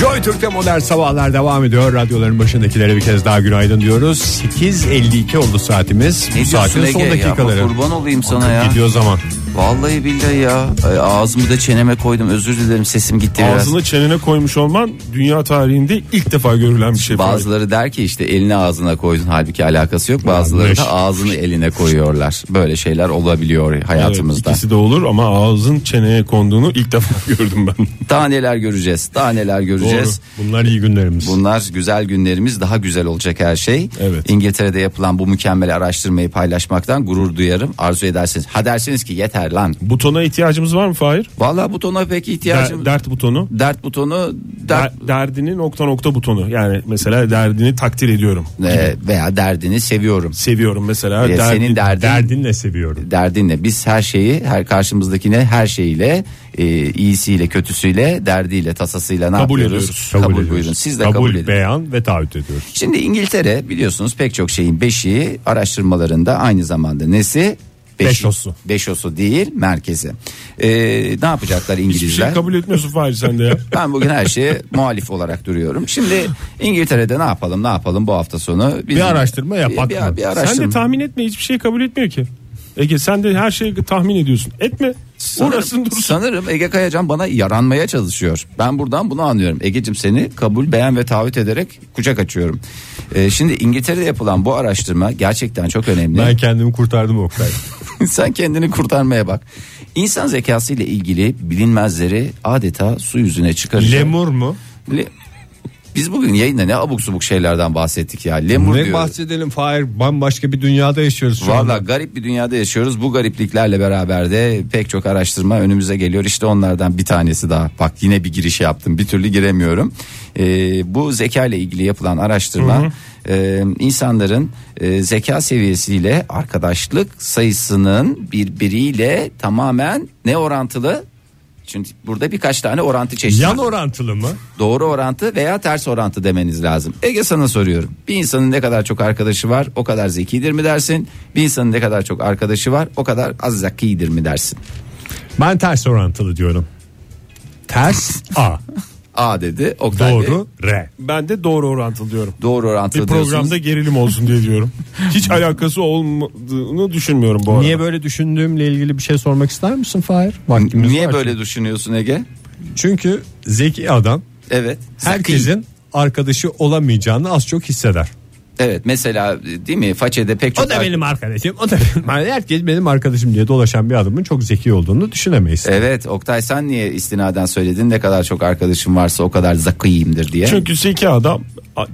S2: Joy Türk'te modern sabahlar devam ediyor. Radyoların başındakilere bir kez daha günaydın diyoruz. 8.52 oldu saatimiz.
S4: Ne
S2: bu saatin
S4: diyorsun
S2: son
S4: Ege ya?
S2: dakikaları.
S4: Kurban olayım sana ya.
S2: Gidiyor zaman.
S4: Vallahi billahi ya. Ay, Ağzımı da çeneme koydum. Özür dilerim sesim gitti biraz.
S3: Ağzını çenene koymuş olman dünya tarihinde ilk defa görülen bir şey. Fahir.
S4: Bazıları der ki işte elini ağzına koydun halbuki alakası yok. Bazıları da ağzını eline koyuyorlar. Böyle şeyler olabiliyor
S3: Evet,
S4: hayatımızda.
S3: İkisi de olur ama ağzın çeneye konduğunu ilk defa gördüm ben.
S4: Daha neler göreceğiz. Daha neler göreceğiz.
S2: Bunlar iyi günlerimiz.
S4: Bunlar güzel günlerimiz daha güzel olacak her şey.
S3: Evet.
S4: İngiltere'de yapılan bu mükemmel araştırmayı paylaşmaktan gurur duyarım. Arzu edersiniz. Ha dersiniz ki yeter lan.
S3: Butona ihtiyacımız var mı Fahir?
S4: Vallahi butona pek ihtiyacım.
S3: Der, dert butonu.
S4: dert butonu dert
S3: Der- derdini nokta nokta butonu. Yani mesela derdini takdir ediyorum.
S4: e, veya derdini seviyorum.
S3: Seviyorum mesela.
S4: E,
S3: derdi-
S4: senin derdin
S2: Derdinle seviyorum.
S4: derdinle biz her şeyi her karşımızdakine her şeyle e, iyisiyle kötüsüyle derdiyle tasasıyla ne
S3: Kabul
S4: yapıyoruz?
S3: ediyoruz.
S4: Kabul,
S2: ediyoruz.
S4: buyurun. Siz de kabul,
S2: kabul,
S4: edin.
S2: beyan ve taahhüt ediyoruz.
S4: Şimdi İngiltere biliyorsunuz pek çok şeyin beşiği araştırmalarında aynı zamanda nesi? Beşi-
S2: Beşosu.
S4: Beşosu değil merkezi. Ee, ne yapacaklar
S3: Hiçbir
S4: İngilizler?
S3: şey kabul etmiyorsun Fahir sen de ya.
S4: Ben bugün her şeye muhalif olarak duruyorum. Şimdi İngiltere'de ne yapalım ne yapalım bu hafta sonu? Bizim-
S2: Bir araştırma yapak
S4: bir,
S2: mı?
S4: bir, bir
S3: sen de
S4: araştırma.
S3: tahmin etme hiçbir şey kabul etmiyor ki. Ege sen de her şeyi tahmin ediyorsun. Etme. Orasın dursun.
S4: sanırım Ege Kayacan bana yaranmaya çalışıyor. Ben buradan bunu anlıyorum. Ege'cim seni kabul, beğen ve taahhüt ederek kucak açıyorum. Ee, şimdi İngiltere'de yapılan bu araştırma gerçekten çok önemli.
S2: Ben kendimi kurtardım Oktay.
S4: Sen kendini kurtarmaya bak. İnsan zekası ile ilgili bilinmezleri adeta su yüzüne çıkaracak.
S2: Lemur mu?
S4: Le- Biz bugün yayında ne abuk subuk şeylerden bahsettik ya. Lemur
S2: Ne
S4: diyoruz.
S2: bahsedelim Fahir bambaşka bir dünyada yaşıyoruz şu
S4: Valla
S2: anda.
S4: garip bir dünyada yaşıyoruz. Bu garipliklerle beraber de pek çok araştırma önümüze geliyor. İşte onlardan bir tanesi daha. Bak yine bir giriş yaptım. Bir türlü giremiyorum. Ee, bu zeka ile ilgili yapılan araştırma e, insanların e, zeka seviyesiyle arkadaşlık sayısının birbiriyle tamamen ne orantılı? Çünkü burada birkaç tane orantı çeşidi. var.
S2: Yan orantılı mı?
S4: Doğru orantı veya ters orantı demeniz lazım. Ege sana soruyorum. Bir insanın ne kadar çok arkadaşı var o kadar zekidir mi dersin? Bir insanın ne kadar çok arkadaşı var o kadar az zekidir mi dersin?
S2: Ben ters orantılı diyorum. Ters A.
S4: A dedi. Oktay Bey,
S2: Doğru R.
S3: Ben de doğru orantılı diyorum.
S4: doğru
S3: Bir
S4: orantılı diyorsunuz.
S3: programda gerilim olsun diye diyorum. Hiç alakası olmadığını düşünmüyorum bu arada.
S2: Niye böyle düşündüğümle ilgili bir şey sormak ister misin Fahir? Vaktimiz
S4: Niye
S2: var
S4: böyle düşünüyorsun Ege?
S2: çünkü. Çünkü zeki adam
S4: Evet. zeki.
S2: herkesin arkadaşı olamayacağını az çok hisseder.
S4: Evet mesela değil mi? Façede pek çok...
S2: O da benim arkadaşım. O da benim. Yani herkes benim arkadaşım diye dolaşan bir adamın çok zeki olduğunu düşünemeyiz.
S4: Evet Oktay sen niye istinaden söyledin ne kadar çok arkadaşım varsa o kadar zekiyimdir diye.
S3: Çünkü zeki adam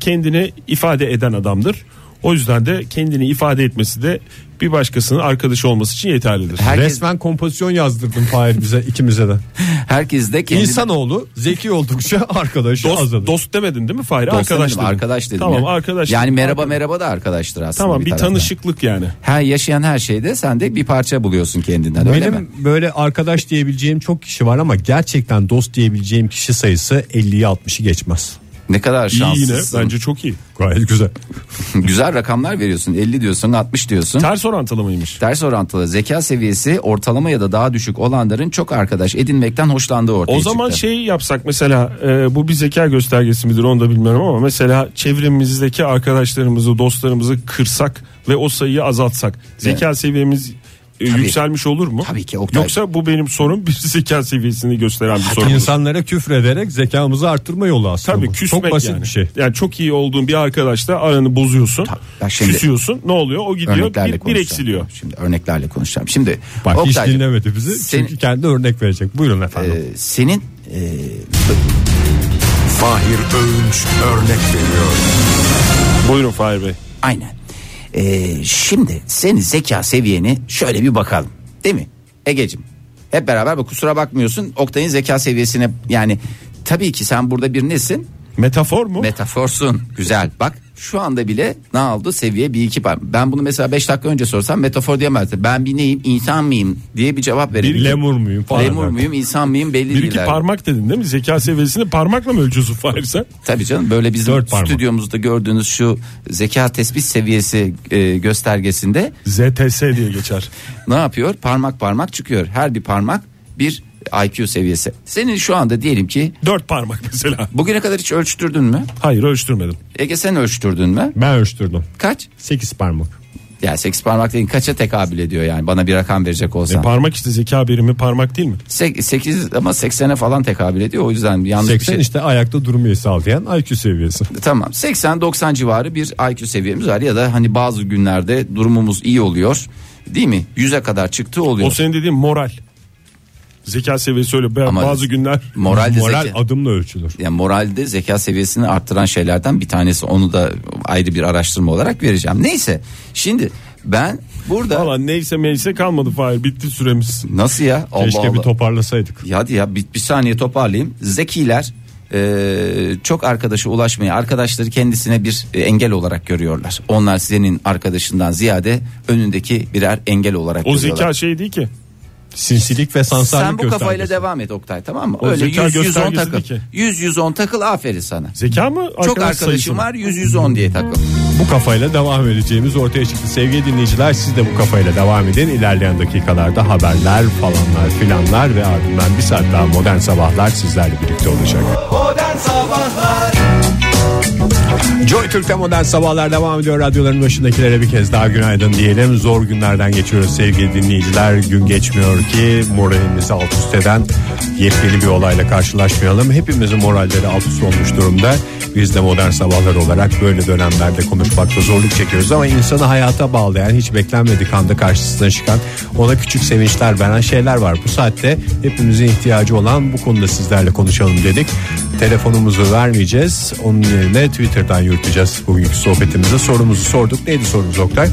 S3: kendini ifade eden adamdır. O yüzden de kendini ifade etmesi de bir başkasının arkadaşı olması için yeterlidir.
S4: herkes-
S2: Resmen kompozisyon yazdırdın Fahir bize ikimize de.
S4: Herkes de kendini...
S2: İnsanoğlu zeki oldukça arkadaşı
S3: Dost,
S2: azalır.
S3: dost demedin değil mi Fahir?
S4: Dost
S3: arkadaş
S4: demedim,
S3: dedin.
S4: arkadaş dedim.
S3: Tamam
S4: ya.
S3: arkadaş.
S4: Yani merhaba merhaba da arkadaştır aslında.
S3: Tamam bir,
S4: taraftan.
S3: tanışıklık yani.
S4: Her yaşayan her şeyde sen de bir parça buluyorsun kendinden öyle mi?
S2: Benim böyle arkadaş diyebileceğim çok kişi var ama gerçekten dost diyebileceğim kişi sayısı 50'yi 60'ı geçmez.
S4: Ne kadar
S3: İyi yine
S4: şanslısın.
S3: bence çok iyi.
S2: Gayet güzel.
S4: Güzel rakamlar veriyorsun. 50 diyorsun, 60 diyorsun.
S3: Ters orantılı mıymış?
S4: Ters orantılı zeka seviyesi ortalama ya da daha düşük olanların çok arkadaş edinmekten hoşlandığı ortaya
S3: O zaman
S4: çıktı.
S3: şey yapsak mesela e, bu bir zeka göstergesi midir onu da bilmiyorum ama mesela çevremizdeki arkadaşlarımızı dostlarımızı kırsak ve o sayıyı azaltsak zeka seviyemiz e, yükselmiş olur mu?
S4: Tabii ki Oktay.
S3: Yoksa bu benim sorum bir zeka seviyesini gösteren bir soru. mudur?
S2: İnsanlara küfrederek zekamızı artırma yolu aslında.
S3: Tabii
S2: bu.
S3: küsmek
S2: çok basit
S3: yani.
S2: bir şey.
S3: Yani çok iyi olduğun bir arkadaşla aranı bozuyorsun.
S4: bak şimdi-
S3: küsüyorsun. Ne oluyor? O gidiyor
S4: örneklerle
S3: bir, bir
S4: konuşacağım.
S3: eksiliyor.
S4: Şimdi örneklerle konuşacağım. Şimdi
S2: Bak hiç
S4: Oktay'cığım,
S2: dinlemedi bizi
S4: sen-
S2: çünkü kendi örnek verecek. Buyurun efendim.
S4: e, senin e,
S5: Fahir Öğünç örnek veriyor.
S3: Buyurun Fahir Bey.
S4: Aynen. Ee, şimdi senin zeka seviyeni şöyle bir bakalım. Değil mi? Egecim. Hep beraber bak kusura bakmıyorsun. Oktay'ın zeka seviyesine yani tabii ki sen burada bir nesin?
S3: Metafor mu?
S4: Metaforsun. Güzel. Bak şu anda bile ne oldu? Seviye bir iki var. Ben bunu mesela 5 dakika önce sorsam metafor diyemezdi. Ben bir neyim? insan mıyım? diye bir cevap verebilirim.
S2: Lemur muyum falan.
S4: Lemur muyum? insan mıyım? Belli
S3: bir
S4: değil.
S3: iki
S4: abi.
S3: parmak dedin değil mi? Zeka seviyesini parmakla mı ölçüyorsun Fahir sen?
S4: Tabii canım böyle bizim
S2: Dört parmak.
S4: stüdyomuzda gördüğünüz şu zeka tespit seviyesi e, göstergesinde
S3: ZTS diye geçer.
S4: ne yapıyor? Parmak parmak çıkıyor. Her bir parmak bir IQ seviyesi. Senin şu anda diyelim ki
S3: Dört parmak mesela.
S4: bugüne kadar hiç ölçtürdün mü?
S3: Hayır ölçtürmedim.
S4: Ege sen ölçtürdün mü?
S2: Ben ölçtürdüm.
S4: Kaç?
S2: 8 parmak.
S4: Ya 8 parmak değil kaça tekabül ediyor yani bana bir rakam verecek olsan.
S3: Parmak işte zeka birimi parmak değil mi?
S4: 8 ama 80'e falan tekabül ediyor o yüzden yanlış bir
S2: 80
S4: şey.
S2: işte ayakta durmayı sağlayan IQ seviyesi.
S4: Tamam 80-90 civarı bir IQ seviyemiz var ya da hani bazı günlerde durumumuz iyi oluyor değil mi? 100'e kadar çıktı
S3: O
S4: oluyor.
S3: senin dediğin moral. Zeka seviyesi öyle. Ben
S4: Ama
S3: bazı günler
S4: moral de
S2: Moral
S4: zeka-
S2: adımla ölçülür.
S4: yani moralde zeka seviyesini arttıran şeylerden bir tanesi onu da ayrı bir araştırma olarak vereceğim. Neyse şimdi ben burada
S3: Valla neyse meyse kalmadı Fahir bitti süremiz.
S4: nasıl ya? Allah
S2: Keşke
S4: Allah.
S2: bir toparlasaydık.
S4: Ya Hadi ya bir, bir saniye toparlayayım. Zekiler e, çok arkadaşa ulaşmayı arkadaşları kendisine bir e, engel olarak görüyorlar. Onlar senin arkadaşından ziyade önündeki birer engel olarak
S3: O
S4: görüyorlar.
S3: zeka şey değil ki.
S2: Sinsilik ve sansarlık
S4: Sen bu kafayla
S2: göstergesi.
S4: devam et Oktay tamam mı?
S3: O
S4: Öyle
S3: zeka
S4: 100 110
S3: göstergesi
S4: takıl.
S3: de ki.
S4: 100 110 takıl aferin sana.
S3: Zeka mı?
S4: çok
S3: arkadaş
S4: arkadaşım
S3: sayısı mı?
S4: var 100 110 diye takıl.
S2: Bu kafayla devam edeceğimiz ortaya çıktı. Sevgili dinleyiciler siz de bu kafayla devam edin. İlerleyen dakikalarda haberler falanlar filanlar ve ardından bir saat daha modern sabahlar sizlerle birlikte olacak. Joy Türk'te modern sabahlar devam ediyor. Radyoların başındakilere bir kez daha günaydın diyelim. Zor günlerden geçiyoruz sevgili dinleyiciler. Gün geçmiyor ki moralimizi alt üst eden yepyeni bir olayla karşılaşmayalım. Hepimizin moralleri alt üst olmuş durumda. Biz de modern sabahlar olarak böyle dönemlerde konuşmakta zorluk çekiyoruz ama insanı hayata bağlayan hiç beklenmedik anda karşısına çıkan ona küçük sevinçler veren şeyler var. Bu saatte hepimizin ihtiyacı olan bu konuda sizlerle konuşalım dedik. Telefonumuzu vermeyeceğiz. Onun yerine Twitter'dan yürüteceğiz bugünkü sohbetimize. Sorumuzu sorduk. Neydi sorumuz Oktay?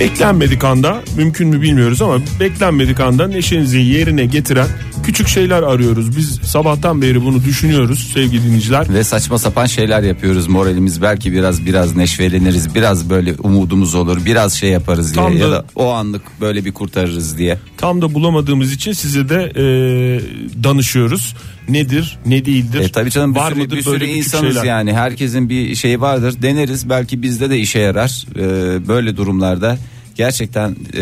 S3: Beklenmedik anda mümkün mü bilmiyoruz ama beklenmedik anda neşenizi yerine getiren küçük şeyler arıyoruz. Biz sabahtan beri bunu düşünüyoruz sevgili dinleyiciler.
S4: Ve saçma sapan şeyler yapıyoruz. Moralimiz belki biraz biraz neşveleniriz. Biraz böyle umudumuz olur. Biraz şey yaparız diye
S3: Tam
S4: ya
S3: da-
S4: da o anlık böyle bir kurtarırız diye.
S3: Tam da bulamadığımız için size de e, danışıyoruz. Nedir, ne değildir?
S4: E tabii canım bir
S3: var
S4: sürü,
S3: mıdır
S4: bir sürü
S3: böyle küçük
S4: insanız
S3: şeyler?
S4: yani herkesin bir şeyi vardır deneriz belki bizde de işe yarar Ee, böyle durumlarda gerçekten e,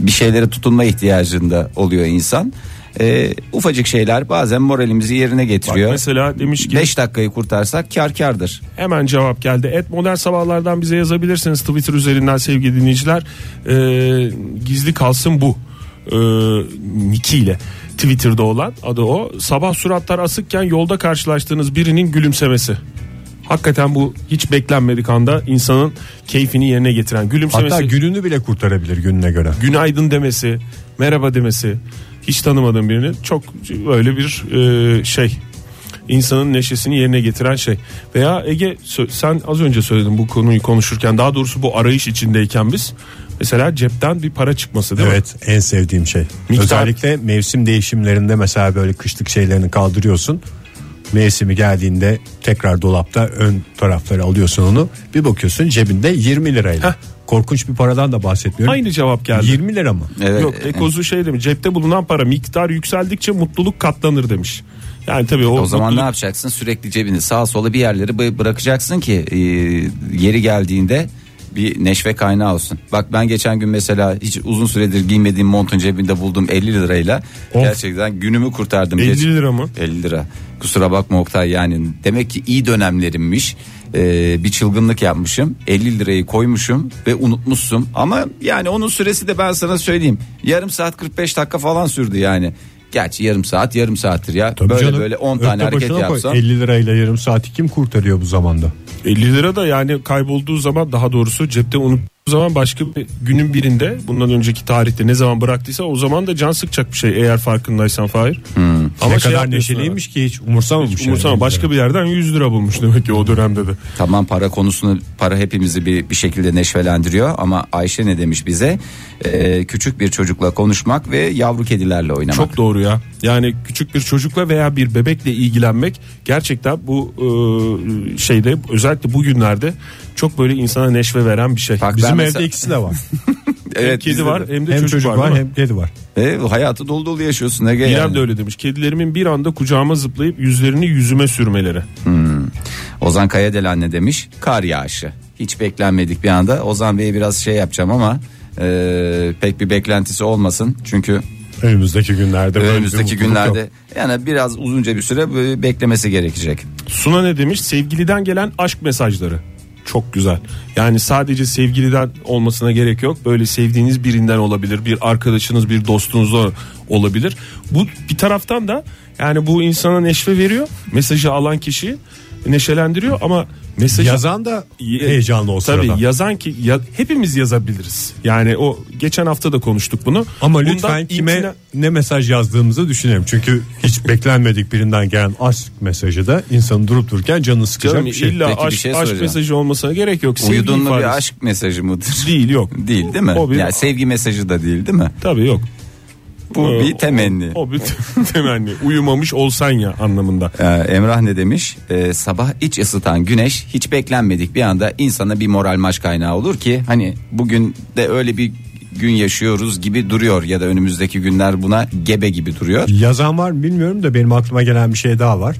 S4: bir şeylere tutunma ihtiyacında oluyor insan Ee, ufacık şeyler bazen moralimizi yerine getiriyor
S3: Mesela demiş ki
S4: 5 dakikayı kurtarsak kar kardır
S3: Hemen cevap geldi. Et modern sabahlardan bize yazabilirsiniz Twitter üzerinden sevgili dinleyiciler. Ee, gizli kalsın bu. Ee, Niki ile Twitter'da olan adı o. Sabah suratlar asıkken yolda karşılaştığınız birinin gülümsemesi. Hakikaten bu hiç beklenmedik anda insanın keyfini yerine getiren gülümsemesi.
S2: Hatta gününü bile kurtarabilir gününe göre.
S3: günaydın demesi, merhaba demesi. Hiç tanımadığım birini çok öyle bir e, şey insanın neşesini yerine getiren şey. Veya Ege sö- sen az önce söyledin bu konuyu konuşurken daha doğrusu bu arayış içindeyken biz mesela cepten bir para çıkması değil mi?
S2: Evet en sevdiğim şey.
S3: Miktar-
S2: Özellikle mevsim değişimlerinde mesela böyle kışlık şeylerini kaldırıyorsun. Mevsimi geldiğinde tekrar dolapta ön tarafları alıyorsun onu. Bir bakıyorsun cebinde 20 lirayla.
S3: Heh.
S2: Korkunç bir paradan da bahsetmiyorum.
S3: Aynı cevap geldi.
S2: 20 lira mı?
S4: Evet. E,
S3: Yok Ekozu şey demiş cepte bulunan para miktar yükseldikçe mutluluk katlanır demiş. Yani tabii o,
S4: o zaman ne
S3: mutluluk-
S4: yapacaksın sürekli cebini sağa sola bir yerleri bı- bırakacaksın ki e, yeri geldiğinde bir neşve kaynağı olsun. Bak ben geçen gün mesela hiç uzun süredir giymediğim montun cebinde buldum 50 lirayla.
S3: Of.
S4: Gerçekten günümü kurtardım.
S3: 50
S4: Geç-
S3: lira mı?
S4: 50 lira. Kusura bakma Oktay yani demek ki iyi dönemlerimmiş. Ee, bir çılgınlık yapmışım. 50 lirayı koymuşum ve unutmuşsun. Ama yani onun süresi de ben sana söyleyeyim. Yarım saat 45 dakika falan sürdü yani. Gerçi yarım saat yarım saattir ya.
S2: Tabii
S4: böyle
S2: canım.
S4: böyle 10
S2: Ökte
S4: tane hareket
S2: başına koy.
S4: yapsam.
S2: 50 lirayla yarım saati kim kurtarıyor bu zamanda?
S3: 50 lira da yani kaybolduğu zaman daha doğrusu cepte unuttuğu zaman başka bir günün birinde bundan önceki tarihte ne zaman bıraktıysa o zaman da can sıkacak bir şey eğer farkındaysan Fahir.
S4: Hmm.
S3: Ama
S2: ne
S3: şey
S2: kadar
S3: yapmıyorsun
S2: neşeliymiş ki hiç umursamamış.
S3: abi.
S2: yani.
S3: Umursama başka bir yerden 100 lira bulmuş demek ki o dönemde de.
S4: Tamam para konusunu para hepimizi bir, bir şekilde neşvelendiriyor ama Ayşe ne demiş bize Ee, küçük bir çocukla konuşmak ve yavru kedilerle oynamak.
S3: Çok doğru ya. Yani küçük bir çocukla veya bir bebekle ilgilenmek gerçekten bu e, şeyde özellikle bugünlerde çok böyle insana neşve veren bir şey.
S4: Bak
S2: Bizim
S4: ben
S2: evde
S4: mesela-
S2: ikisi de var.
S3: Hem
S4: Evet,
S3: kedi
S4: bizde
S3: var
S4: de.
S3: hem de
S2: hem
S3: çocuk, var. değil mi?
S2: hem kedi var.
S4: E, hayatı dolu dolu yaşıyorsun Ege.
S3: İrem
S4: yani.
S3: de öyle demiş. Kedilerimin bir anda kucağıma zıplayıp yüzlerini yüzüme sürmeleri.
S4: Hmm. Ozan Kayadel anne demiş kar yağışı. Hiç beklenmedik bir anda. Ozan Bey'e biraz şey yapacağım ama e, pek bir beklentisi olmasın. Çünkü
S2: Önümüzdeki günlerde böyle bir
S4: önümüzdeki
S2: mutluluk yok.
S4: günlerde yani biraz uzunca bir süre e, beklemesi gerekecek.
S3: Suna ne demiş? Sevgiliden gelen aşk mesajları. çok güzel. Yani sadece sevgiliden olmasına gerek yok. Böyle sevdiğiniz birinden olabilir. Bir arkadaşınız, bir dostunuz da olabilir. Bu bir taraftan da yani bu insana neşve veriyor. Mesajı alan kişiyi neşelendiriyor ama mesajı
S2: Yazan da heyecanlı o
S3: Tabii
S2: sırada.
S3: yazan ki ya- hepimiz yazabiliriz. Yani o geçen hafta da konuştuk bunu.
S2: Ama
S3: Bundan
S2: lütfen kime
S3: imtina-
S2: ne mesaj yazdığımızı düşünelim. Çünkü hiç beklenmedik birinden gelen aşk mesajı da insanı durup dururken canını sıkacak
S3: Canım,
S2: bir şey.
S3: illa
S4: Peki bir
S3: aşk,
S4: şey
S3: aşk
S4: soracağım.
S3: mesajı olmasına gerek yok. Sevgi
S4: Uyudun mu
S3: ifadesi.
S4: bir aşk mesajı mıdır?
S3: Değil yok.
S4: Değil değil mi?
S3: O bir-
S4: Yani sevgi mesajı da değil değil mi?
S3: Tabii yok.
S4: Bu
S3: Ee,
S4: bir temenni.
S3: O, o bir temenni. Uyumamış olsan ya anlamında.
S4: Ee, Emrah ne demiş? Ee, sabah iç ısıtan güneş hiç beklenmedik bir anda insana bir moral maç kaynağı olur ki hani bugün de öyle bir gün yaşıyoruz gibi duruyor ya da önümüzdeki günler buna gebe gibi duruyor.
S2: Yazan var mı bilmiyorum da benim aklıma gelen bir şey daha var.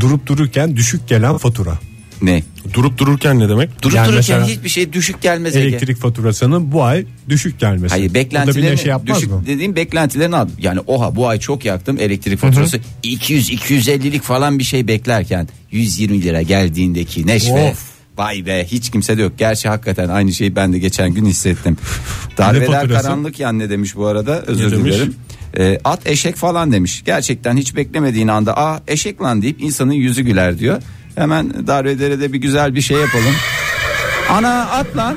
S2: Durup dururken düşük gelen fatura.
S4: Ne?
S3: Durup dururken ne demek?
S4: Durup
S2: Yani
S4: dururken
S2: mesela
S4: hiçbir şey düşük gelmez Ege.
S2: Elektrik faturasının bu ay düşük gelmesi. O da
S4: Hayır
S2: bir
S4: beklentilerin
S2: neşe yapmaz
S4: düşük
S2: mı?
S4: dediğim beklentilerin ad- yani oha bu ay çok yaktım elektrik faturası 200 250'lik falan bir şey beklerken 120 lira geldiğindeki neşve
S2: Of.
S4: Vay be hiç kimse de yok. Gerçi hakikaten aynı şeyi ben de geçen gün hissettim. Darbeler
S2: faturası?
S4: karanlık yan ne demiş bu arada özür
S3: Ne demiş?
S4: dilerim. Ee, at eşek falan demiş. Gerçekten hiç beklemediğin anda aa eşek lan deyip insanın yüzü güler diyor. Hemen darbelere de bir güzel bir şey yapalım. Ana at lan.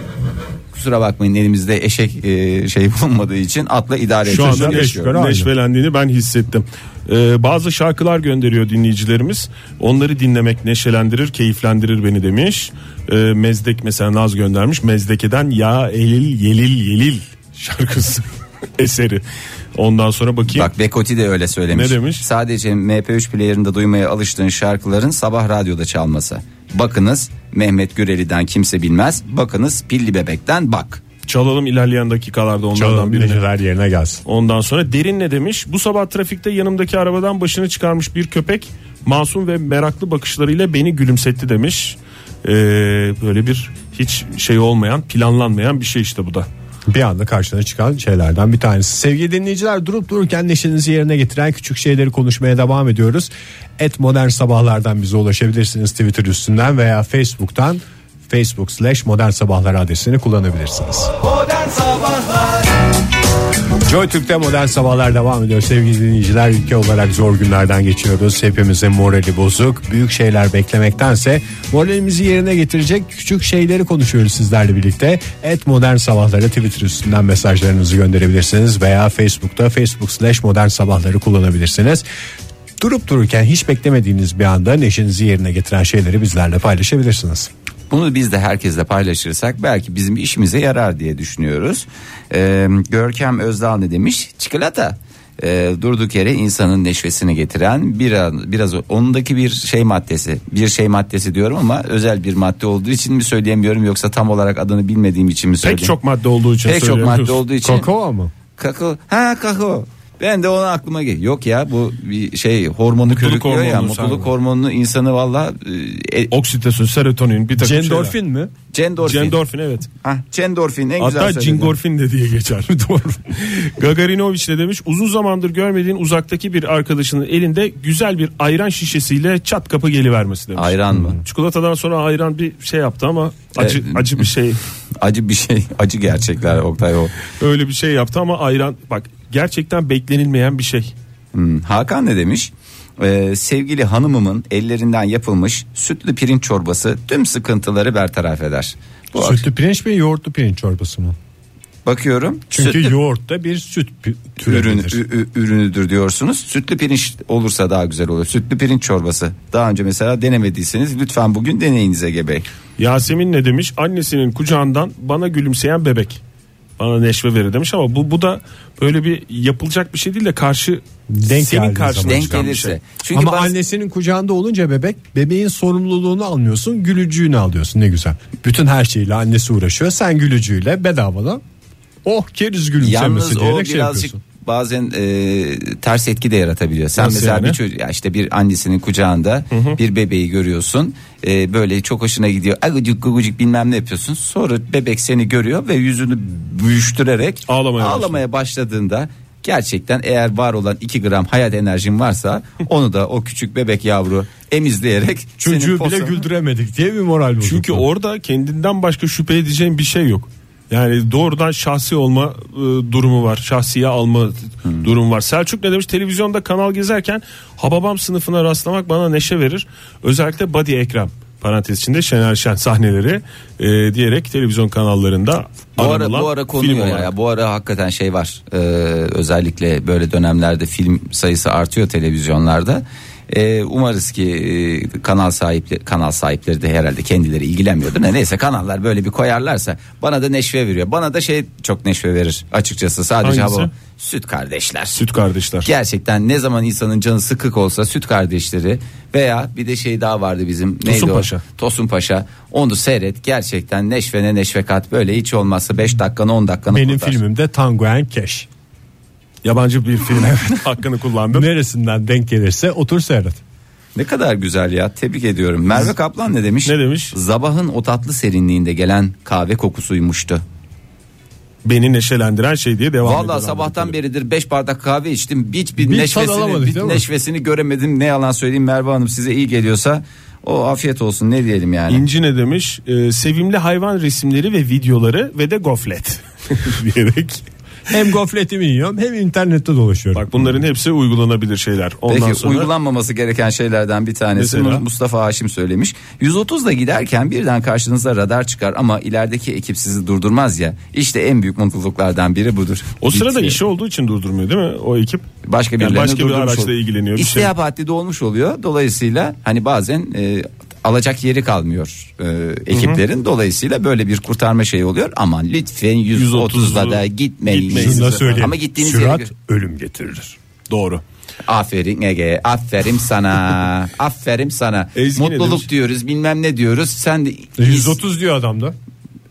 S4: Kusura bakmayın elimizde eşek e, şey bulunmadığı için atla idare
S3: Şu
S4: ediyoruz.
S3: anda
S4: Yaşıyor.
S2: Neşve-
S3: neş- neşvelendiğini ben hissettim. Ee, bazı şarkılar gönderiyor dinleyicilerimiz. Onları dinlemek neşelendirir, keyiflendirir beni demiş. Ee, Mezdek mesela Naz göndermiş. Mezdekeden Ya Elil Yelil Yelil şarkısı eseri. Ondan sonra bakayım.
S4: Bak Bekoti de öyle söylemiş.
S3: Ne demiş?
S4: Sadece MP3 player'ında duymaya alıştığın şarkıların sabah radyoda çalması. Bakınız Mehmet Güreli'den kimse bilmez. Bakınız Pilli Bebek'ten bak.
S3: Çalalım ilerleyen dakikalarda onlardan
S2: Canım
S3: birini.
S2: neşeler yerine gelsin.
S3: Ondan sonra derin ne demiş? Bu sabah trafikte yanımdaki arabadan başını çıkarmış bir köpek masum ve meraklı bakışlarıyla beni gülümsetti demiş. Ee, böyle bir hiç şey olmayan planlanmayan bir şey işte bu da.
S2: Bir anda karşına çıkan şeylerden bir tanesi. Sevgili dinleyiciler durup dururken neşenizi yerine getiren küçük şeyleri konuşmaya devam ediyoruz. Et modern sabahlardan bize ulaşabilirsiniz Twitter üstünden veya Facebook'tan Facebook slash modern sabahlar adresini kullanabilirsiniz. Joy Türk'te modern sabahlar devam ediyor sevgili dinleyiciler. Ülke olarak zor günlerden geçiyoruz. Hepimizin morali bozuk. Büyük şeyler beklemektense moralimizi yerine getirecek küçük şeyleri konuşuyoruz sizlerle birlikte. Et modern sabahları Twitter üstünden mesajlarınızı gönderebilirsiniz veya Facebook'ta Facebook slash modern sabahları kullanabilirsiniz. Durup dururken hiç beklemediğiniz bir anda neşenizi yerine getiren şeyleri bizlerle paylaşabilirsiniz.
S4: Bunu biz de herkesle paylaşırsak belki bizim işimize yarar diye düşünüyoruz. Ee, Görkem Özdal ne demiş? Çikolata. Ee, durduk yere insanın neşvesini getiren biraz, biraz ondaki bir şey maddesi bir şey maddesi diyorum ama özel bir madde olduğu için mi söyleyemiyorum yoksa tam olarak adını bilmediğim için mi söyleyeyim?
S3: Pek çok şey madde olduğu için
S4: Pek çok
S3: söylüyorum.
S4: madde olduğu için.
S2: Kakao mu?
S4: Kakao. Ha kakao. Ben de onu aklıma gel. Yok ya bu bir şey hormonu körüklüyor ya
S3: hormonu
S4: mutluluk
S3: sanki.
S4: hormonunu insanı valla e,
S3: Oksitosin, serotonin bir takım
S2: Cendorfin mi?
S4: cendorfin.
S3: şeyler. Cendorfin evet.
S4: Hah, cendorfin en güzel
S3: Hatta
S4: söyledin.
S3: cingorfin de diye geçer. Doğru. Gagarinovic de demiş uzun zamandır görmediğin uzaktaki bir arkadaşının elinde güzel bir ayran şişesiyle çat kapı gelivermesi demiş.
S4: Ayran mı?
S3: Çikolatadan sonra ayran bir şey yaptı ama acı
S4: Ee,
S3: acı bir şey
S4: Acı bir şey. Acı gerçekler Oktay o.
S3: öyle bir şey yaptı ama ayran bak gerçekten beklenilmeyen bir şey.
S4: Hmm, Hakan ne demiş? Ee, sevgili hanımımın ellerinden yapılmış sütlü pirinç çorbası tüm sıkıntıları bertaraf eder. Bu ak-
S2: Sütlü pirinç mi yoğurtlu pirinç çorbası mı?
S4: bakıyorum.
S2: Çünkü
S4: sütlü
S2: yoğurt da bir süt pi-
S4: ürün,
S2: türevidir.
S4: ü- ü- ürünüdür diyorsunuz. Sütlü pirinç olursa daha güzel olur. Sütlü pirinç çorbası. Daha önce mesela denemediyseniz lütfen bugün deneyiniz Ege Bey.
S3: Yasemin ne demiş? Annesinin kucağından bana gülümseyen bebek. Bana neşve verir demiş ama bu bu da böyle bir yapılacak bir şey değil de karşı
S2: Denk
S3: senin
S2: geldiği
S3: karşına
S2: zaman.
S4: Denk
S3: çıkan bir
S4: gelirse.
S3: şey.
S4: Çünkü
S2: Ama
S4: bazı-
S2: annesinin kucağında olunca bebek bebeğin sorumluluğunu almıyorsun gülücüğünü alıyorsun ne güzel. Bütün her şeyle annesi uğraşıyor sen gülücüğüyle bedavadan oh keriz
S4: Yalnız
S2: gülümsemesi
S4: o
S2: diyerek şey
S4: birazcık
S2: yapıyorsun.
S4: bazen e, ters etki de yaratabiliyor. Sen
S3: Nasıl
S4: mesela
S3: yani?
S4: bir çocuk ya işte bir annesinin kucağında bir bebeği görüyorsun. E, böyle çok hoşuna gidiyor. Agıcık gıgıcık bilmem ne yapıyorsun. Sonra bebek seni görüyor ve yüzünü büyüştürerek
S3: Ağlamaya
S4: başladığında gerçekten eğer var olan 2 gram hayat enerjin varsa onu da o küçük bebek yavru emizleyerek senin
S2: Çocuğu bile
S4: posan-
S2: güldüremedik diye bir moral bozukluğu.
S3: Çünkü orada kendinden başka şüphe edeceğin bir şey yok. Yani doğrudan şahsi olma e, durumu var. Şahsiye alma
S4: Hmm.
S3: durumu var. Selçuk ne demiş? Televizyonda kanal gezerken Hababam sınıfına rastlamak bana neşe verir. Özellikle Badi Ekrem parantez içinde Şener Şen sahneleri e, diyerek televizyon kanallarında
S4: Bu ara,
S3: aranılan
S4: bu ara
S3: film
S4: konuyor ya.
S3: olarak.
S4: Bu ara hakikaten şey var. Ee, özellikle böyle dönemlerde film sayısı artıyor televizyonlarda. Ee, umarız ki e, kanal sahipleri kanal sahipleri de herhalde kendileri ilgilenmiyordur. Ne neyse kanallar böyle bir koyarlarsa bana da neşve veriyor. Bana da şey çok neşve verir açıkçası. Sadece
S3: Hangisi?
S4: hava süt kardeşler.
S3: Süt kardeşler.
S4: Gerçekten ne zaman insanın canı sıkık olsa süt kardeşleri veya bir de şey daha vardı bizim neydi o?
S3: Paşa.
S4: Tosun Paşa. Onu seyret gerçekten neşvene neşvekat böyle hiç olmazsa 5 dakikanı 10 dakikanı
S2: Benim
S4: kurtar.
S2: filmimde Tango and Cash.
S3: Yabancı bir film hakkını kullandım.
S2: Neresinden denk gelirse otur seyret.
S4: Ne kadar güzel ya tebrik ediyorum. Merve Kaplan ne demiş?
S3: Ne demiş?
S4: Zabahın o tatlı serinliğinde gelen kahve kokusuymuştu.
S3: Beni neşelendiren şey diye devam ediyor.
S4: Vallahi sabahtan beridir 5 bardak kahve içtim. Hiç bir
S2: Bir tad
S4: neşvesini,
S2: alamadık,
S4: bir
S2: değil mi?
S4: neşvesini göremedim. Ne yalan söyleyeyim Merve Hanım size iyi geliyorsa o afiyet olsun ne diyelim yani.
S3: İnci ne demiş? Ee, sevimli hayvan resimleri ve videoları ve de goflet diyerek.
S2: Hem gofletimi yiyorum hem internette dolaşıyorum.
S3: Bak bunların hepsi uygulanabilir şeyler. Ondan
S4: Peki
S3: sonra
S4: uygulanmaması gereken şeylerden bir tanesi
S3: Mesela?
S4: Mustafa Haşim söylemiş. 130'da giderken birden karşınıza radar çıkar ama ilerideki ekip sizi durdurmaz ya. İşte en büyük mutluluklardan biri budur.
S3: o sırada
S4: Bitmiyor.
S3: işi olduğu için durdurmuyor değil mi o ekip?
S4: başka
S3: Yani
S4: birilerine
S3: başka bir
S4: durdurmuş
S3: araçla
S4: oluyor.
S3: ilgileniyor, bir şey.
S4: İstihap haddi de olmuş oluyor. Dolayısıyla hani bazen e, alacak yeri kalmıyor e, ekiplerin. Dolayısıyla böyle bir kurtarma şeyi oluyor. Aman lütfen 130'da da
S3: Gitmeyiniz.
S4: gitmeyin.
S2: Şunu da
S3: Bak-
S2: söyleyeyim.
S4: Ama gittiğiniz
S2: Sürat
S4: yere
S2: ölüm getirir.
S3: Doğru.
S4: Aferin Ege, aferin sana, aferin sana.
S3: Ezgi ne
S4: Mutluluk
S3: demiş?
S4: diyoruz, bilmem ne diyoruz. Sen de
S2: 130 diyor adam da.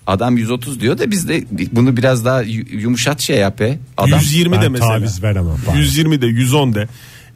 S4: adam 130 diyor da biz de bunu biraz daha yu- yumuşat şey yap be. Adam
S3: 120 de
S2: Ben
S3: mesela.
S2: taviz veremem. Bari.
S3: 120 de 110 de.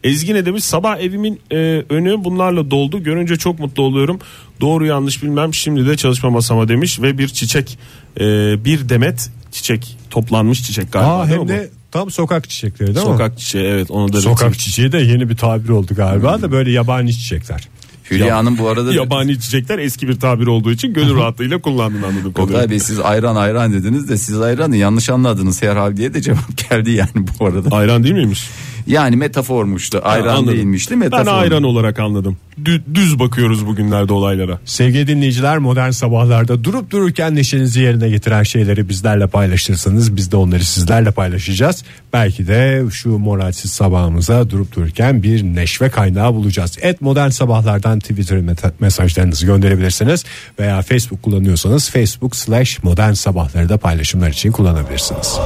S3: Ezgi ne demiş? Sabah evimin e, önü bunlarla doldu. Görünce çok mutlu oluyorum. Doğru yanlış bilmem. Şimdi de çalışma masama demiş ve bir çiçek e, bir demet çiçek toplanmış çiçek galiba.
S2: Aa,
S3: değil
S2: hem
S3: mi
S2: de tam sokak çiçekleri
S3: bu?
S2: değil mi?
S3: sokak çiçeği evet onu da
S2: Sokak çiçeği de yeni bir tabir oldu galiba da böyle yabani çiçekler.
S4: Hülya Hanım bu arada
S3: Yabani çiçekler eski bir tabir olduğu için gönül rahatlığıyla kullandın anladım.
S4: Oktay Bey siz ayran ayran dediniz de siz ayranı yanlış anladınız herhalde diye de cevap geldi yani bu arada.
S3: Ayran değil miymiş?
S4: Yani metaformuştu. Ayran
S3: Ah. Anladım.
S4: değilmişti
S3: Ben
S4: metafor.
S3: ayran olarak anladım. Dü- düz bakıyoruz bugünlerde olaylara.
S2: Sevgili dinleyiciler modern sabahlarda durup dururken neşenizi yerine getiren şeyleri bizlerle paylaşırsanız biz de onları sizlerle paylaşacağız. Belki de şu moralsiz sabahımıza durup dururken bir neşve kaynağı bulacağız. Et modern sabahlardan Twitter meta- mesajlarınızı gönderebilirsiniz veya Facebook kullanıyorsanız Facebook slash modern sabahları da paylaşımlar için kullanabilirsiniz.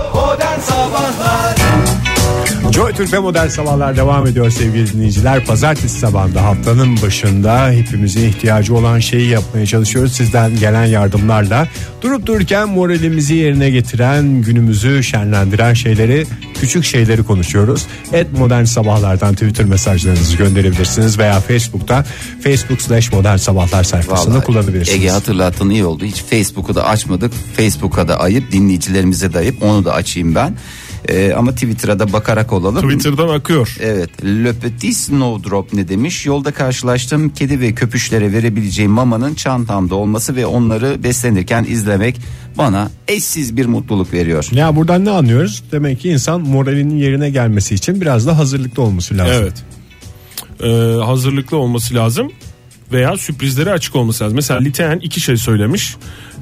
S2: Joy Türk ve Modern Sabahlar devam ediyor sevgili dinleyiciler. Pazartesi sabahında haftanın başında hepimizin ihtiyacı olan şeyi yapmaya çalışıyoruz. Sizden gelen yardımlarla durup dururken moralimizi yerine getiren günümüzü şenlendiren şeyleri küçük şeyleri konuşuyoruz. Et Modern Sabahlardan Twitter mesajlarınızı gönderebilirsiniz veya Facebook'ta Facebook slash Modern Sabahlar sayfasını
S4: Vallahi
S2: kullanabilirsiniz.
S4: Ege hatırlattın iyi oldu. Hiç Facebook'u da açmadık. Facebook'a da ayıp, dinleyicilerimize de ayıp. Onu da açayım ben. Ee, ama Twitter'a da bakarak olalım.
S3: Twitter'dan akıyor.
S4: Evet. Le petit snowdrop ne demiş? Yolda karşılaştım. Kedi ve köpüşlere verebileceğim mamanın çantamda olması ve onları beslenirken izlemek bana eşsiz bir mutluluk veriyor.
S2: Ya buradan ne anlıyoruz? Demek ki insan moralinin yerine gelmesi için biraz da hazırlıklı olması lazım.
S3: Evet. Ee, hazırlıklı olması lazım veya sürprizlere açık olması lazım. Mesela Liteyen iki şey söylemiş.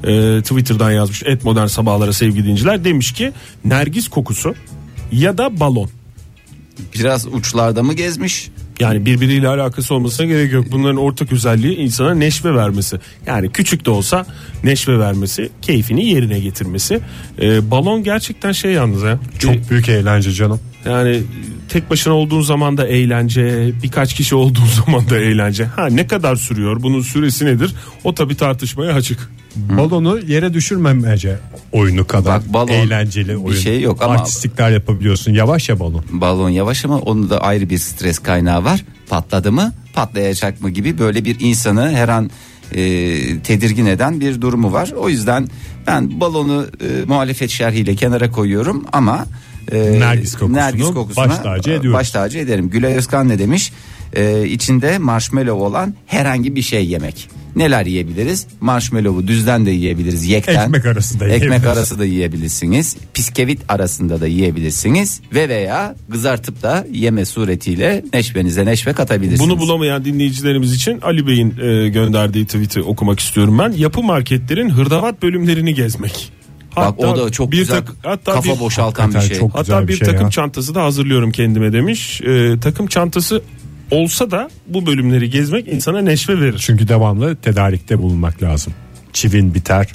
S3: Ee, Twitter'dan yazmış. Et modern sabahlara sevgili dinciler demiş ki nergis kokusu ya da balon.
S4: Biraz uçlarda mı gezmiş?
S3: Yani birbiriyle alakası olmasına gerek yok. Bunların ortak özelliği insana neşve vermesi. Yani küçük de olsa neşve vermesi, keyfini yerine getirmesi. Ee, balon gerçekten şey yalnız ya.
S4: E-
S3: Ee,
S2: Çok büyük eğlence canım.
S3: Yani tek başına olduğun zaman da eğlence, birkaç kişi olduğun zaman da eğlence. Ha ne kadar sürüyor? Bunun süresi nedir? O tabi tartışmaya açık.
S2: Balonu yere düşürmemece oyunu kadar
S4: Bak balon,
S2: eğlenceli
S4: bir
S2: oyun.
S4: şey yok ama-
S2: Artistlikler yapabiliyorsun yavaş ya balon.
S4: Balon yavaş ama onun da ayrı bir stres kaynağı var. Patladı mı, patlayacak mı gibi böyle bir insanı her an e, tedirgin eden bir durumu var. O yüzden ben balonu e, muhalefet şerhiyle kenara koyuyorum ama e,
S2: Nergis kokusunu baş tacı ediyoruz.
S4: baş tacı ederim. Gülay Özkan ne demiş? E, e, içinde marshmallow olan herhangi bir şey yemek. Neler yiyebiliriz? Marshmallow'u düzden de yiyebiliriz. Yekten.
S2: Ekmek arası da
S4: Ekmek
S2: yiyebiliriz.
S4: arası da yiyebilirsiniz. Piskevit arasında da yiyebilirsiniz. Ve veya kızartıp da yeme suretiyle neşvenize neşve katabilirsiniz.
S3: Bunu bulamayan dinleyicilerimiz için Ali Bey'in e, gönderdiği tweet'i okumak istiyorum ben. Yapı marketlerin hırdavat bölümlerini gezmek.
S4: Bak o da çok
S3: bir
S4: güzel
S3: tak- hatta
S4: kafa
S3: bir,
S4: boşaltan bir
S2: Hakikaten
S4: şey.
S2: çok Güzel
S3: Hatta
S2: bir
S3: bir,
S2: şey
S3: takım
S2: ya.
S3: çantası da hazırlıyorum kendime demiş. E, takım çantası olsa da bu bölümleri gezmek insana neşve verir.
S2: Çünkü devamlı tedarikte bulunmak lazım. Çivin biter.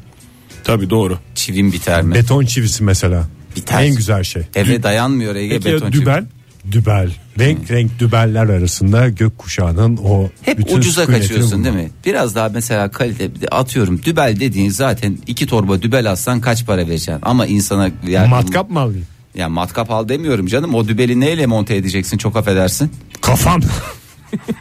S3: Tabii doğru.
S4: Çivim biter mi?
S2: Beton çivisi mesela.
S4: Biter.
S2: En güzel şey.
S4: Eve dayanmıyor Ege
S3: Peki ya
S4: beton çivi.
S3: dübel?
S2: Dübel. Renk renk dübeller arasında gökkuşağının o
S4: Hep
S2: bütün
S4: ucuza
S2: sükunetini
S4: kaçıyorsun
S2: bulmak.
S4: değil mi? Biraz daha mesela kalite bir de atıyorum dübel dediğin zaten iki torba dübel alsan kaç para vereceksin? Ama insana yani,
S2: Matkap mı alayım?
S4: Ya matkap al demiyorum canım. O dübeli neyle monte edeceksin? Çok affedersin.
S2: Kafam.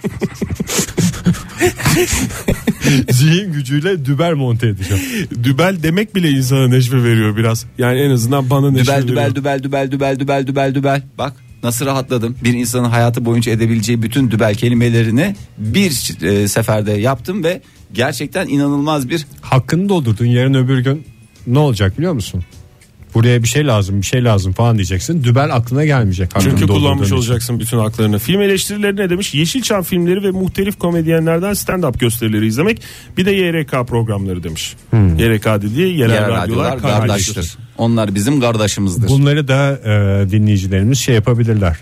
S2: Zihin gücüyle dübel monte edeceğim.
S3: Dübel demek bile insana neşve veriyor biraz. Yani en azından bana neşve
S4: Dübel dübel
S3: veriyor.
S4: dübel dübel dübel dübel dübel dübel. Bak nasıl rahatladım. Bir insanın hayatı boyunca edebileceği bütün dübel kelimelerini bir e, seferde yaptım ve gerçekten inanılmaz bir
S2: Hakkını doldurdun yarın öbür gün ne olacak biliyor musun? Buraya bir şey lazım bir şey lazım falan diyeceksin. Dübel aklına gelmeyecek. hakkını
S3: Çünkü
S2: doldurduğun
S3: kullanmış
S2: için.
S3: olacaksın bütün haklarını. Film eleştirileri ne demiş? Yeşilçam filmleri ve muhtelif komedyenlerden stand-up gösterileri izlemek. Bir de YRK programları demiş.
S2: Hmm.
S3: YRK dediği yerel,
S4: yer
S3: radyolar,
S4: radyolar
S3: kardeştir.
S4: kardeştir. Onlar bizim kardeşimizdir.
S2: Bunları da e, dinleyicilerimiz şey yapabilirler.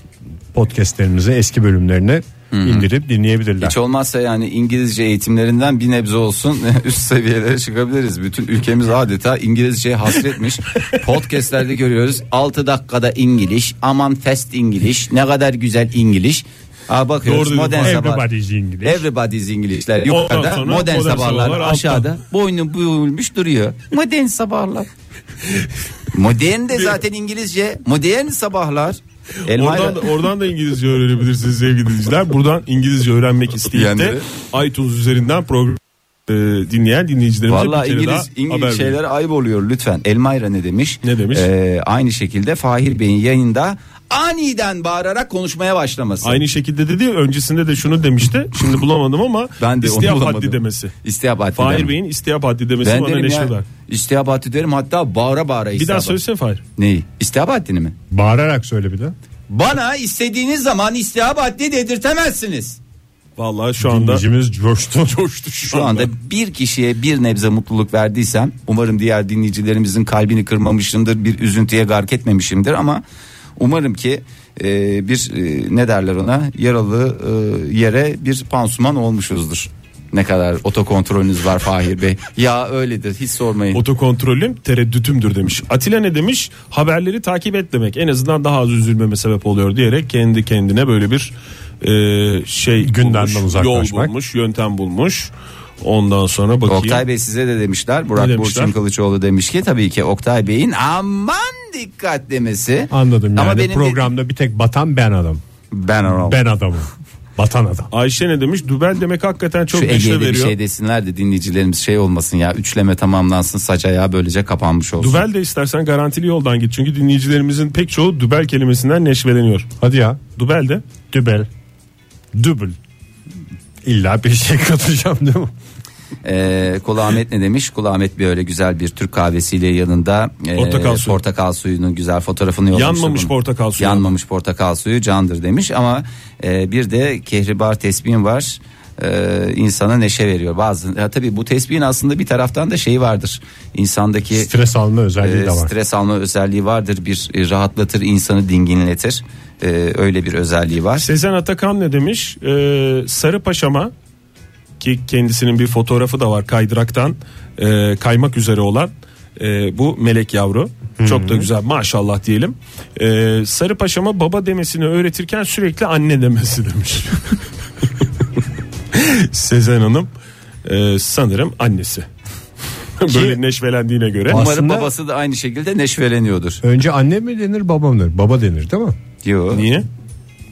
S2: Podcastlerimizi eski bölümlerini indirip dinleyebilirler.
S4: Hiç olmazsa yani İngilizce eğitimlerinden bir nebze olsun üst seviyelere çıkabiliriz. Bütün ülkemiz adeta İngilizceye hasretmiş. Podcast'lerde görüyoruz 6 dakikada İngiliz, aman fast İngiliz, ne kadar güzel İngiliz. Aa bakıyoruz
S3: Doğru dedim.
S4: modern sabah.
S2: Everybody's English.
S4: Everybody's English'ler
S3: Ondan
S4: yukarıda,
S3: sonra
S4: modern,
S3: modern
S4: sabahlar,
S3: sabahlar alttan.
S4: aşağıda. Boynu buğulmuş duruyor. Modern sabahlar. modern de zaten İngilizce. Modern sabahlar. Elmayra-
S3: Oradan da, oradan da İngilizce öğrenebilirsiniz sevgili dinleyiciler. Buradan İngilizce öğrenmek isteyip de iTunes üzerinden program e, dinleyen dinleyicilerimize
S4: Valla
S3: bir kere daha
S4: İngiliz,
S3: haber
S4: İngiliz
S3: verin.
S4: şeylere ayıp oluyor lütfen. Elmayra ne demiş?
S3: Ne demiş?
S4: Ee, aynı şekilde Fahir Bey'in yayında aniden bağırarak konuşmaya başlaması.
S3: Aynı şekilde dedi ya, öncesinde de şunu demişti. Şimdi bulamadım ama
S4: Ben de onu
S3: istihap
S4: bulamadım.
S3: haddi demesi.
S4: İstihap haddi
S3: Fahir
S4: demiş.
S3: Bey'in istihap haddi demesi
S4: ben
S3: bana
S4: derim
S3: neşe
S4: ya,
S3: ver.
S4: istihap haddi derim hatta bağıra bağıra
S3: Bir daha
S4: istihap haddi.
S3: söylesene Fahir.
S4: Neyi? İstihap haddini mi?
S2: Bağırarak söyle bir de.
S4: Bana istediğiniz zaman istihap haddi dedirtemezsiniz.
S3: Vallahi şu anda
S2: Dinleyicimiz coştu. coştu
S4: Şu anda bir kişiye bir nebze mutluluk verdiysem umarım diğer dinleyicilerimizin kalbini kırmamışımdır bir üzüntüye gark etmemişimdir ama umarım ki e, bir e, ne derler ona yaralı e, yere bir pansuman olmuşuzdur. Ne kadar otokontrolünüz var Fahir Bey. ya öyledir hiç sormayın.
S3: Otokontrolüm tereddütümdür demiş. Atilla ne demiş? Haberleri takip et demek. En azından daha az üzülmeme sebep oluyor diyerek kendi kendine böyle bir e, şey
S2: Gündemden
S3: bulmuş,
S2: uzaklaşmak.
S3: Yol bulmuş, yöntem bulmuş. Ondan sonra bakayım.
S4: Oktay Bey size de demişler.
S3: Ne
S4: Burak
S3: demişler?
S4: Burçin Kılıçoğlu demiş ki tabii ki Oktay Bey'in aman dikkat demesi.
S2: Anladım yani
S4: Ama benim de-
S2: programda bir tek batan ben adam.
S4: ben onu.
S2: Ben adamım. Batan adam.
S3: Ayşe ne demiş? Dübel demek hakikaten çok
S4: Şu
S3: neşe
S4: Ege'de bir
S3: veriyor.
S4: şey desinler de dinleyicilerimiz şey olmasın ya üçleme tamamlansın saç ayağı böylece kapanmış olsun.
S3: Dübel de istersen garantili yoldan git. Çünkü dinleyicilerimizin pek çoğu dübel kelimesinden neşveleniyor.
S2: Hadi ya.
S3: Dübel de
S2: Dübel. Dübül. İlla bir şey katacağım değil mi?
S4: Ee, Kulu Ahmet ne demiş? Kulu Ahmet bir öyle güzel bir Türk kahvesiyle yanında e,
S3: Portakal suyu.
S4: portakal suyunun güzel fotoğrafını yollamış.
S3: Yanmamış portakal suyu.
S4: Yanmamış portakal suyu candır demiş ama e, bir de kehribar tesbihim var. E, insana neşe veriyor. Bazı ya tabii bu tesbihin aslında bir taraftan da şeyi vardır. İnsandaki
S2: Stres alma özelliği
S4: Ee,
S2: de var.
S4: stres alma özelliği vardır. Bir e, rahatlatır, insanı dinginletir. Ee, öyle bir özelliği var.
S3: Sezen Atakan ne demiş? Ee, Sarı Paşama ki kendisinin bir fotoğrafı da var kaydıraktan e, kaymak üzere olan e, bu melek yavru. Çok da güzel maşallah diyelim. Ee, Sarı Paşama baba demesini öğretirken sürekli anne demesi demiş. Sezen Hanım e, sanırım annesi. Böyle neşvelendiğine göre.
S4: Umarım
S2: Aslında-
S4: babası da aynı şekilde neşveleniyordur.
S2: Önce anne mi denir baba mı denir? Baba denir değil mi?
S4: Yo.
S3: Niye?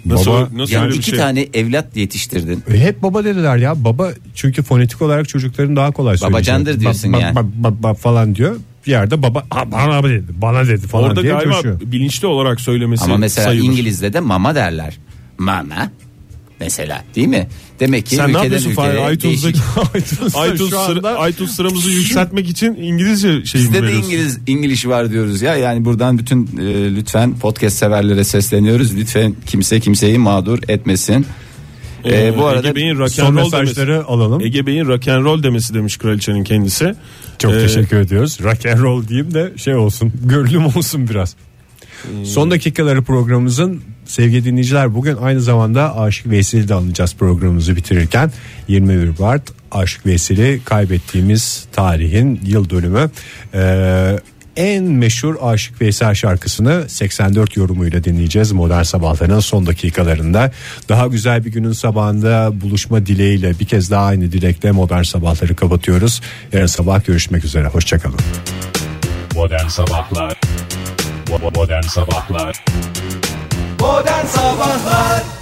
S3: Nasıl,
S2: Baba-
S3: nasıl
S4: Yani
S3: öyle bir
S4: iki
S3: şey?
S4: tane evlat yetiştirdin.
S2: E, Hep baba dediler ya. Baba çünkü fonetik olarak çocukların daha kolay söyleyecek.
S4: Babacandır diyorsun
S2: Ba- ba-
S4: yani.
S2: ba- ba- ba- falan diyor. Bir yerde baba "Ha, bana dedi. Bana dedi falan
S3: Orada
S2: diye
S3: galiba
S2: coşuyor.
S3: bilinçli olarak söylemesi
S4: Ama mesela
S3: sayılır.
S4: İngiliz'de de mama derler. Mama. mesela değil mi? Demek ki
S3: Sen ne
S4: ülkeden
S3: yapıyorsun
S4: ülkeye
S3: Fahri?
S4: değişik.
S3: iTunes'daki iTunes,
S2: şu
S3: sıra-
S2: anda
S3: iTunes sıramızı yükseltmek için İngilizce şey mi
S4: Bizde de
S3: veriyorsun?
S4: İngiliz İngiliz var diyoruz ya. Yani buradan bütün e, lütfen podcast severlere sesleniyoruz. Lütfen kimse kimseyi mağdur etmesin. E, bu arada
S3: Ee, Ege Bey'in rock
S2: son
S3: and roll
S2: mesajları
S3: demesi.
S2: alalım.
S3: Ege Bey'in rock and roll demesi demiş kraliçenin kendisi.
S2: Çok
S3: Ee,
S2: teşekkür ediyoruz. Rock and roll diyeyim de şey olsun. Gönlüm olsun biraz. Son dakikaları programımızın sevgili dinleyiciler bugün aynı zamanda Aşık Veysel'i de anlayacağız programımızı bitirirken. 21 Mart Aşık Veysel'i kaybettiğimiz tarihin yıl dönümü. Ee, en meşhur Aşık Veysel şarkısını 84 yorumuyla dinleyeceğiz Modern Sabahların son dakikalarında. Daha güzel bir günün sabahında buluşma dileğiyle bir kez daha aynı dilekle Modern Sabahları kapatıyoruz. Yarın sabah görüşmek üzere. Hoşçakalın.
S1: Modern Sabahlar Bo- Modern Sabahlar
S6: Modern Sabahlar